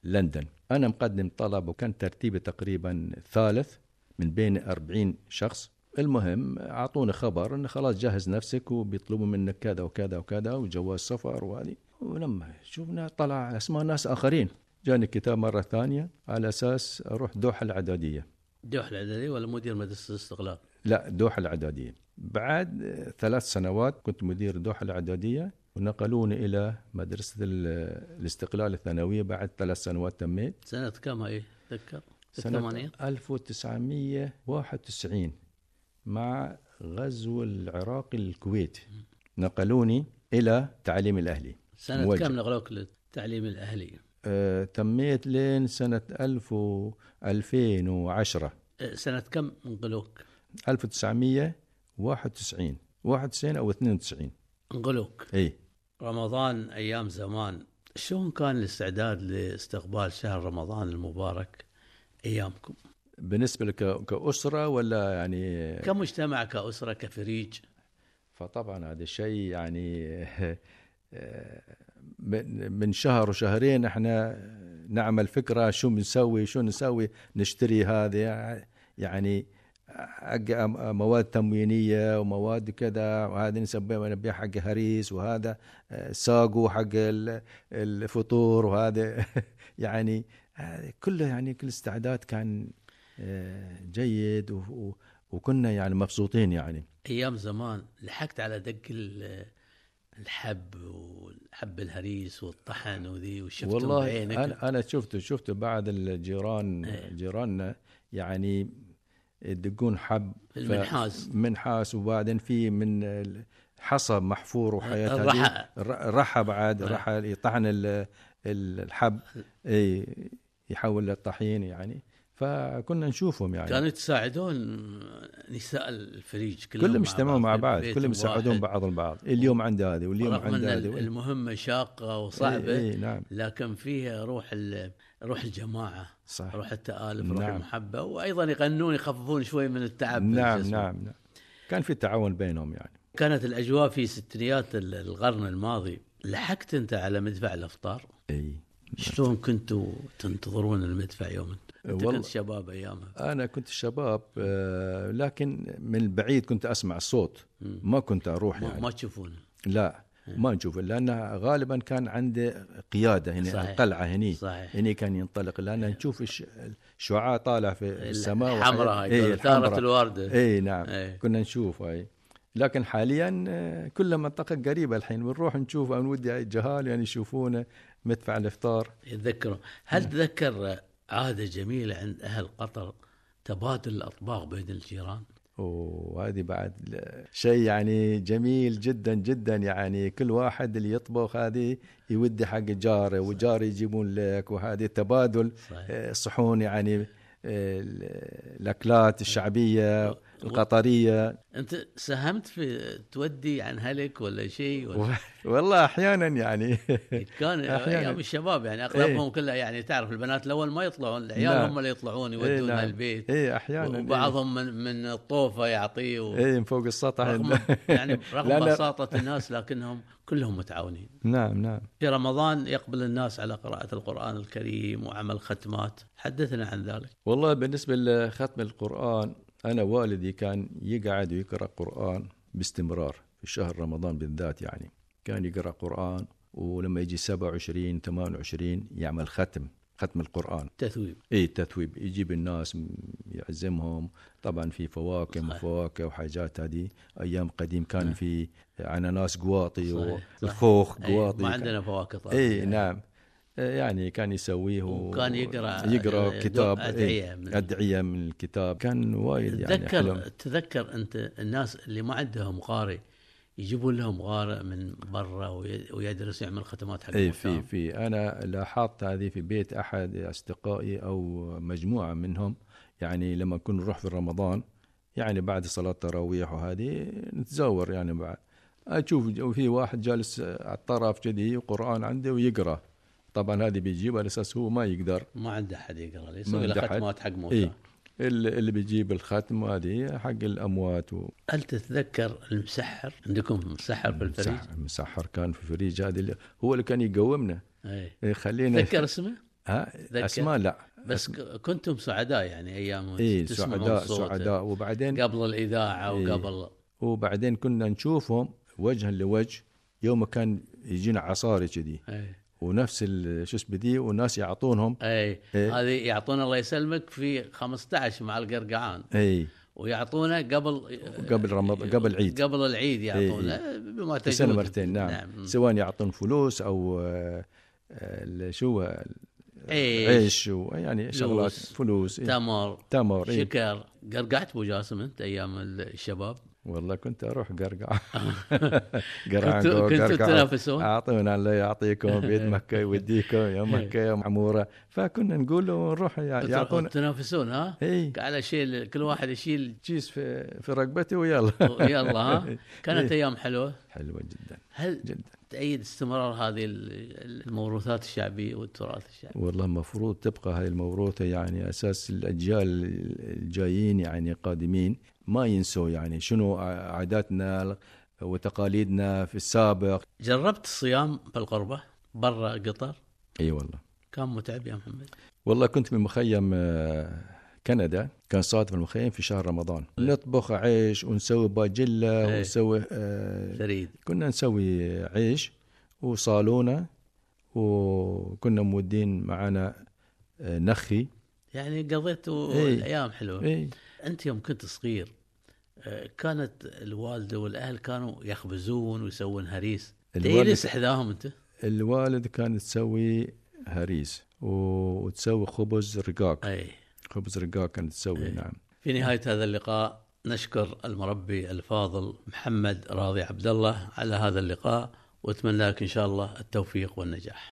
[SPEAKER 2] لندن أنا مقدم طلب وكان ترتيبي تقريبا ثالث من بين 40 شخص المهم أعطوني خبر أن خلاص جهز نفسك وبيطلبوا منك كذا وكذا وكذا وجواز سفر وهذه ولما شفنا طلع أسماء ناس آخرين جاني كتاب مرة ثانية على أساس أروح دوحة العدادية
[SPEAKER 4] دوح العدلي ولا مدير مدرسة الاستقلال
[SPEAKER 2] لا دوحة الإعدادية بعد ثلاث سنوات كنت مدير دوحة الإعدادية ونقلوني إلى مدرسة ال- الاستقلال الثانوية بعد ثلاث سنوات تميت
[SPEAKER 4] سنة كم هاي تذكر؟ في
[SPEAKER 2] سنة
[SPEAKER 4] الثمانينات
[SPEAKER 2] 1991 مع غزو العراق للكويت نقلوني إلى تعليم الأهلي
[SPEAKER 4] سنة
[SPEAKER 2] موجه.
[SPEAKER 4] كم نقلوك للتعليم الأهلي؟
[SPEAKER 2] أه، تميت لين سنة 1000 و 2010
[SPEAKER 4] أه، سنة كم انقلوك؟
[SPEAKER 2] 1991 91 أو 92
[SPEAKER 4] انقلوك
[SPEAKER 2] إيه
[SPEAKER 4] رمضان أيام زمان شلون كان الاستعداد لاستقبال شهر رمضان المبارك أيامكم؟
[SPEAKER 2] بالنسبه لك كاسره ولا يعني
[SPEAKER 4] كمجتمع كأسرة كفريج
[SPEAKER 2] فطبعا هذا الشيء يعني آه، من من شهر وشهرين احنا نعمل فكره شو بنسوي شو نسوي نشتري هذا يعني حق مواد تموينيه ومواد كذا وهذا نسميه نبيع حق هريس وهذا آه، ساقو حق ال- الفطور وهذا يعني هذا كله يعني كل استعداد كان آه، جيد و- و- وكنا يعني مبسوطين يعني
[SPEAKER 4] ايام زمان لحقت على دق ال- الحب والحب الهريس والطحن وذي وشفتهم
[SPEAKER 2] والله
[SPEAKER 4] بعينك
[SPEAKER 2] انا انا شفته شفته بعد الجيران
[SPEAKER 4] إيه.
[SPEAKER 2] جيراننا يعني يدقون حب ف-
[SPEAKER 4] المنحاس.
[SPEAKER 2] منحاس وبعدين في من ال- حصى محفور وحياة هذه.
[SPEAKER 4] الرحى.
[SPEAKER 2] الر- الرحى بعد
[SPEAKER 4] آه.
[SPEAKER 2] الرحى يطحن ال- ال- الحب اي يحول للطحين يعني فكنا نشوفهم يعني
[SPEAKER 4] كانوا يتساعدون نساء الفريج كلهم
[SPEAKER 2] كلهم
[SPEAKER 4] مع
[SPEAKER 2] اجتمعوا مع
[SPEAKER 4] في
[SPEAKER 2] بعض
[SPEAKER 4] بيت
[SPEAKER 2] كلهم يساعدون
[SPEAKER 4] واحد.
[SPEAKER 2] بعض البعض اليوم عند هذه واليوم
[SPEAKER 4] رغم
[SPEAKER 2] عند
[SPEAKER 4] ان
[SPEAKER 2] هذه وال-
[SPEAKER 4] المهمه شاقه وصعبه
[SPEAKER 2] إي- إي نعم
[SPEAKER 4] لكن فيها روح ال- روح الجماعه
[SPEAKER 2] صح
[SPEAKER 4] روح التالف روح
[SPEAKER 2] نعم.
[SPEAKER 4] المحبه وايضا يغنون يخففون شوي من التعب
[SPEAKER 2] نعم
[SPEAKER 4] بالجسم.
[SPEAKER 2] نعم نعم كان في تعاون بينهم يعني
[SPEAKER 4] كانت الاجواء في ستينيات ال- القرن الماضي لحقت انت على مدفع الافطار
[SPEAKER 2] اي
[SPEAKER 4] شلون كنتوا تنتظرون المدفع يوم انت أنت
[SPEAKER 2] والله.
[SPEAKER 4] كنت شباب ايامها
[SPEAKER 2] انا كنت شباب آه، لكن من بعيد كنت اسمع الصوت ما كنت اروح
[SPEAKER 4] ما, إيه.
[SPEAKER 2] يعني
[SPEAKER 4] ما تشوفونه
[SPEAKER 2] لا ما نشوف لان غالبا كان عندي قياده هنا
[SPEAKER 4] صحيح.
[SPEAKER 2] القلعه هني
[SPEAKER 4] صحيح. إيه.
[SPEAKER 2] هني كان ينطلق لان نشوف الش- الشعاع طالع في السماء
[SPEAKER 4] الحمراء
[SPEAKER 2] وحاجات-
[SPEAKER 4] هاي
[SPEAKER 2] إيه،
[SPEAKER 4] تقول ثاره
[SPEAKER 2] الحمراء.
[SPEAKER 4] الوردة
[SPEAKER 2] اي نعم
[SPEAKER 4] إيه.
[SPEAKER 2] كنا نشوف اي لكن حاليا آه، كل منطقه قريبه الحين بنروح نشوف أنا ودي الجهال يعني يشوفونه مدفع الافطار
[SPEAKER 4] يتذكروا هل تذكر عادة جميلة عند أهل قطر تبادل الأطباق بين الجيران
[SPEAKER 2] وهذه بعد ل- شيء يعني جميل جدا جدا يعني كل واحد اللي يطبخ هذه يودي حق جاره وجاره يجيبون لك وهذه تبادل
[SPEAKER 4] صحيح.
[SPEAKER 2] آه، صحون يعني آه، ال- الاكلات الشعبيه القطريه
[SPEAKER 4] أنت ساهمت في تودي عن هلك ولا شيء ولا
[SPEAKER 2] و- والله احيانا يعني
[SPEAKER 4] كان
[SPEAKER 2] أحياناً.
[SPEAKER 4] ايام الشباب يعني اغلبهم
[SPEAKER 2] إيه.
[SPEAKER 4] كلها يعني تعرف البنات الاول ما يطلعون العيال
[SPEAKER 2] نعم.
[SPEAKER 4] هم اللي يطلعون
[SPEAKER 2] إيه
[SPEAKER 4] يودون
[SPEAKER 2] نعم.
[SPEAKER 4] البيت
[SPEAKER 2] اي احيانا
[SPEAKER 4] وبعضهم من من الطوفه يعطيه و...
[SPEAKER 2] اي من فوق السطح
[SPEAKER 4] رغم يعني
[SPEAKER 2] إيه، لا،
[SPEAKER 4] رغم
[SPEAKER 2] لا.
[SPEAKER 4] بساطه الناس لكنهم كلهم متعاونين
[SPEAKER 2] نعم نعم
[SPEAKER 4] في رمضان يقبل الناس على قراءه القران الكريم وعمل ختمات حدثنا عن ذلك
[SPEAKER 2] والله بالنسبة لختم القرآن أنا والدي كان يقعد ويقرأ قرآن باستمرار في شهر رمضان بالذات يعني كان يقرأ قرآن ولما يجي 27 28 يعمل ختم ختم القرآن
[SPEAKER 4] تثويب
[SPEAKER 2] اي التثويب يجيب الناس م- يعزمهم طبعا في فواكه
[SPEAKER 4] صحيح. نعم.
[SPEAKER 2] وفواكه وحاجات هذه ايام قديم كان في اناناس قواطي
[SPEAKER 4] صحيح.
[SPEAKER 2] والخوخ
[SPEAKER 4] أي،
[SPEAKER 2] قواطي
[SPEAKER 4] ما
[SPEAKER 2] كان-
[SPEAKER 4] عندنا فواكه طبعا
[SPEAKER 2] اي نعم يعني كان يسويه و-
[SPEAKER 4] وكان يقرأ-
[SPEAKER 2] يقرا
[SPEAKER 4] دو-
[SPEAKER 2] كتاب
[SPEAKER 4] أدعية
[SPEAKER 2] إيه،
[SPEAKER 4] من-
[SPEAKER 2] ادعيه من الكتاب كان وايد يعني
[SPEAKER 4] تذكر
[SPEAKER 2] حلم
[SPEAKER 4] تذكر انت الناس اللي ما عندهم قارئ يجيبون لهم قارئ من برا وي- ويدرس يعمل ختمات حق
[SPEAKER 2] اي إيه، في
[SPEAKER 4] الختام.
[SPEAKER 2] في انا لاحظت هذه في بيت احد اصدقائي او مجموعه منهم يعني لما كنا نروح في رمضان يعني بعد صلاه التراويح وهذه نتزور يعني بعد اشوف ج- في واحد جالس على الطرف كذي وقران عنده ويقرا طبعا هذه بيجيبها على اساس هو ما يقدر
[SPEAKER 4] ما عنده احد يقرا لي
[SPEAKER 2] ما
[SPEAKER 4] يسوي له
[SPEAKER 2] عنده أحد.
[SPEAKER 4] ختمات حق موتى
[SPEAKER 2] اي إيه. اللي اللي بيجيب الختم هذه حق الاموات و...
[SPEAKER 4] هل تتذكر المسحر عندكم مسحر في الفريج؟
[SPEAKER 2] مسحر, مسحر كان في فريج هذا اللي هو اللي كان يقومنا إيه.
[SPEAKER 4] اي
[SPEAKER 2] يخلينا
[SPEAKER 4] إيه. تذكر اسمه
[SPEAKER 2] ها
[SPEAKER 4] تذكر.
[SPEAKER 2] اسماء لا
[SPEAKER 4] بس ك- كنتم سعداء يعني ايام
[SPEAKER 2] اي
[SPEAKER 4] تسمعون
[SPEAKER 2] إيه. سعداء
[SPEAKER 4] صوته.
[SPEAKER 2] سعداء إيه. وبعدين
[SPEAKER 4] قبل الاذاعه
[SPEAKER 2] إي.
[SPEAKER 4] وقبل
[SPEAKER 2] وبعدين كنا نشوفهم وجها لوجه يوم كان يجينا عصاري كذي
[SPEAKER 4] اي
[SPEAKER 2] ونفس ال- شو اسمه دي وناس يعطونهم
[SPEAKER 4] اي
[SPEAKER 2] إي.
[SPEAKER 4] إيه. هذه يعطونا الله يسلمك في 15 مع القرقعان
[SPEAKER 2] اي
[SPEAKER 4] ويعطونه قبل آه،
[SPEAKER 2] قبل رمضان قبل العيد إيه،
[SPEAKER 4] قبل العيد يعطونه
[SPEAKER 2] إي
[SPEAKER 4] بما
[SPEAKER 2] في
[SPEAKER 4] تجود
[SPEAKER 2] سنه مرتين نعم,
[SPEAKER 4] نعم.
[SPEAKER 2] نعم. سواء يعطون فلوس او آه، آه، ال- شو هو؟
[SPEAKER 4] عيش, عيش
[SPEAKER 2] آه، عيش ويعني شغلات فلوس إيه.
[SPEAKER 4] تمر
[SPEAKER 2] تمر إيه.
[SPEAKER 4] شكر قرقعت ابو جاسم انت ايام الشباب
[SPEAKER 2] والله كنت اروح قرقع
[SPEAKER 4] آه. كنتوا- كنتوا تنافسون؟
[SPEAKER 2] اعطونا الله يعطيكم بيت مكه يوديكم يا
[SPEAKER 4] إيه.
[SPEAKER 2] مكه يا معموره فكنا نقول له ونروح يع-
[SPEAKER 4] يعطون
[SPEAKER 2] يعطونا إيه.
[SPEAKER 4] تنافسون ها
[SPEAKER 2] اي
[SPEAKER 4] على شيء كل واحد يشيل
[SPEAKER 2] تشيز في, في رقبتي ويلا
[SPEAKER 4] يلا ها كانت
[SPEAKER 2] إيه.
[SPEAKER 4] ايام حلوه
[SPEAKER 2] حلوه جدا
[SPEAKER 4] هل
[SPEAKER 2] جدا
[SPEAKER 4] تأيد استمرار هذه ال- الموروثات الشعبيه والتراث الشعبي
[SPEAKER 2] والله المفروض تبقى هاي الموروثه يعني اساس الاجيال الجايين يعني قادمين ما ينسوا يعني شنو عاداتنا وتقاليدنا في السابق
[SPEAKER 4] جربت الصيام بالغربه برا قطر
[SPEAKER 2] اي إيه والله
[SPEAKER 4] كان متعب يا محمد
[SPEAKER 2] والله كنت في مخيم آه، كندا كان صادف المخيم في شهر رمضان نطبخ عيش ونسوي باجلة
[SPEAKER 4] إيه.
[SPEAKER 2] ونسوي آه،
[SPEAKER 4] ثريد
[SPEAKER 2] كنا نسوي عيش وصالونة وكنا مودين معنا آه، نخي
[SPEAKER 4] يعني قضيت
[SPEAKER 2] إيه.
[SPEAKER 4] الايام حلوه
[SPEAKER 2] إيه.
[SPEAKER 4] انت يوم كنت صغير آه، كانت الوالده والاهل كانوا يخبزون ويسوون هريس
[SPEAKER 2] الوالدة-
[SPEAKER 4] تجلس احداهم انت
[SPEAKER 2] الوالد كان تسوي هريس و- وتسوي خبز رقاق
[SPEAKER 4] اي
[SPEAKER 2] خبز رقاق كانت تسوي
[SPEAKER 4] إيه.
[SPEAKER 2] نعم
[SPEAKER 4] في نهايه هذا اللقاء نشكر المربي الفاضل محمد راضي عبد الله على هذا اللقاء واتمنى لك ان شاء الله التوفيق والنجاح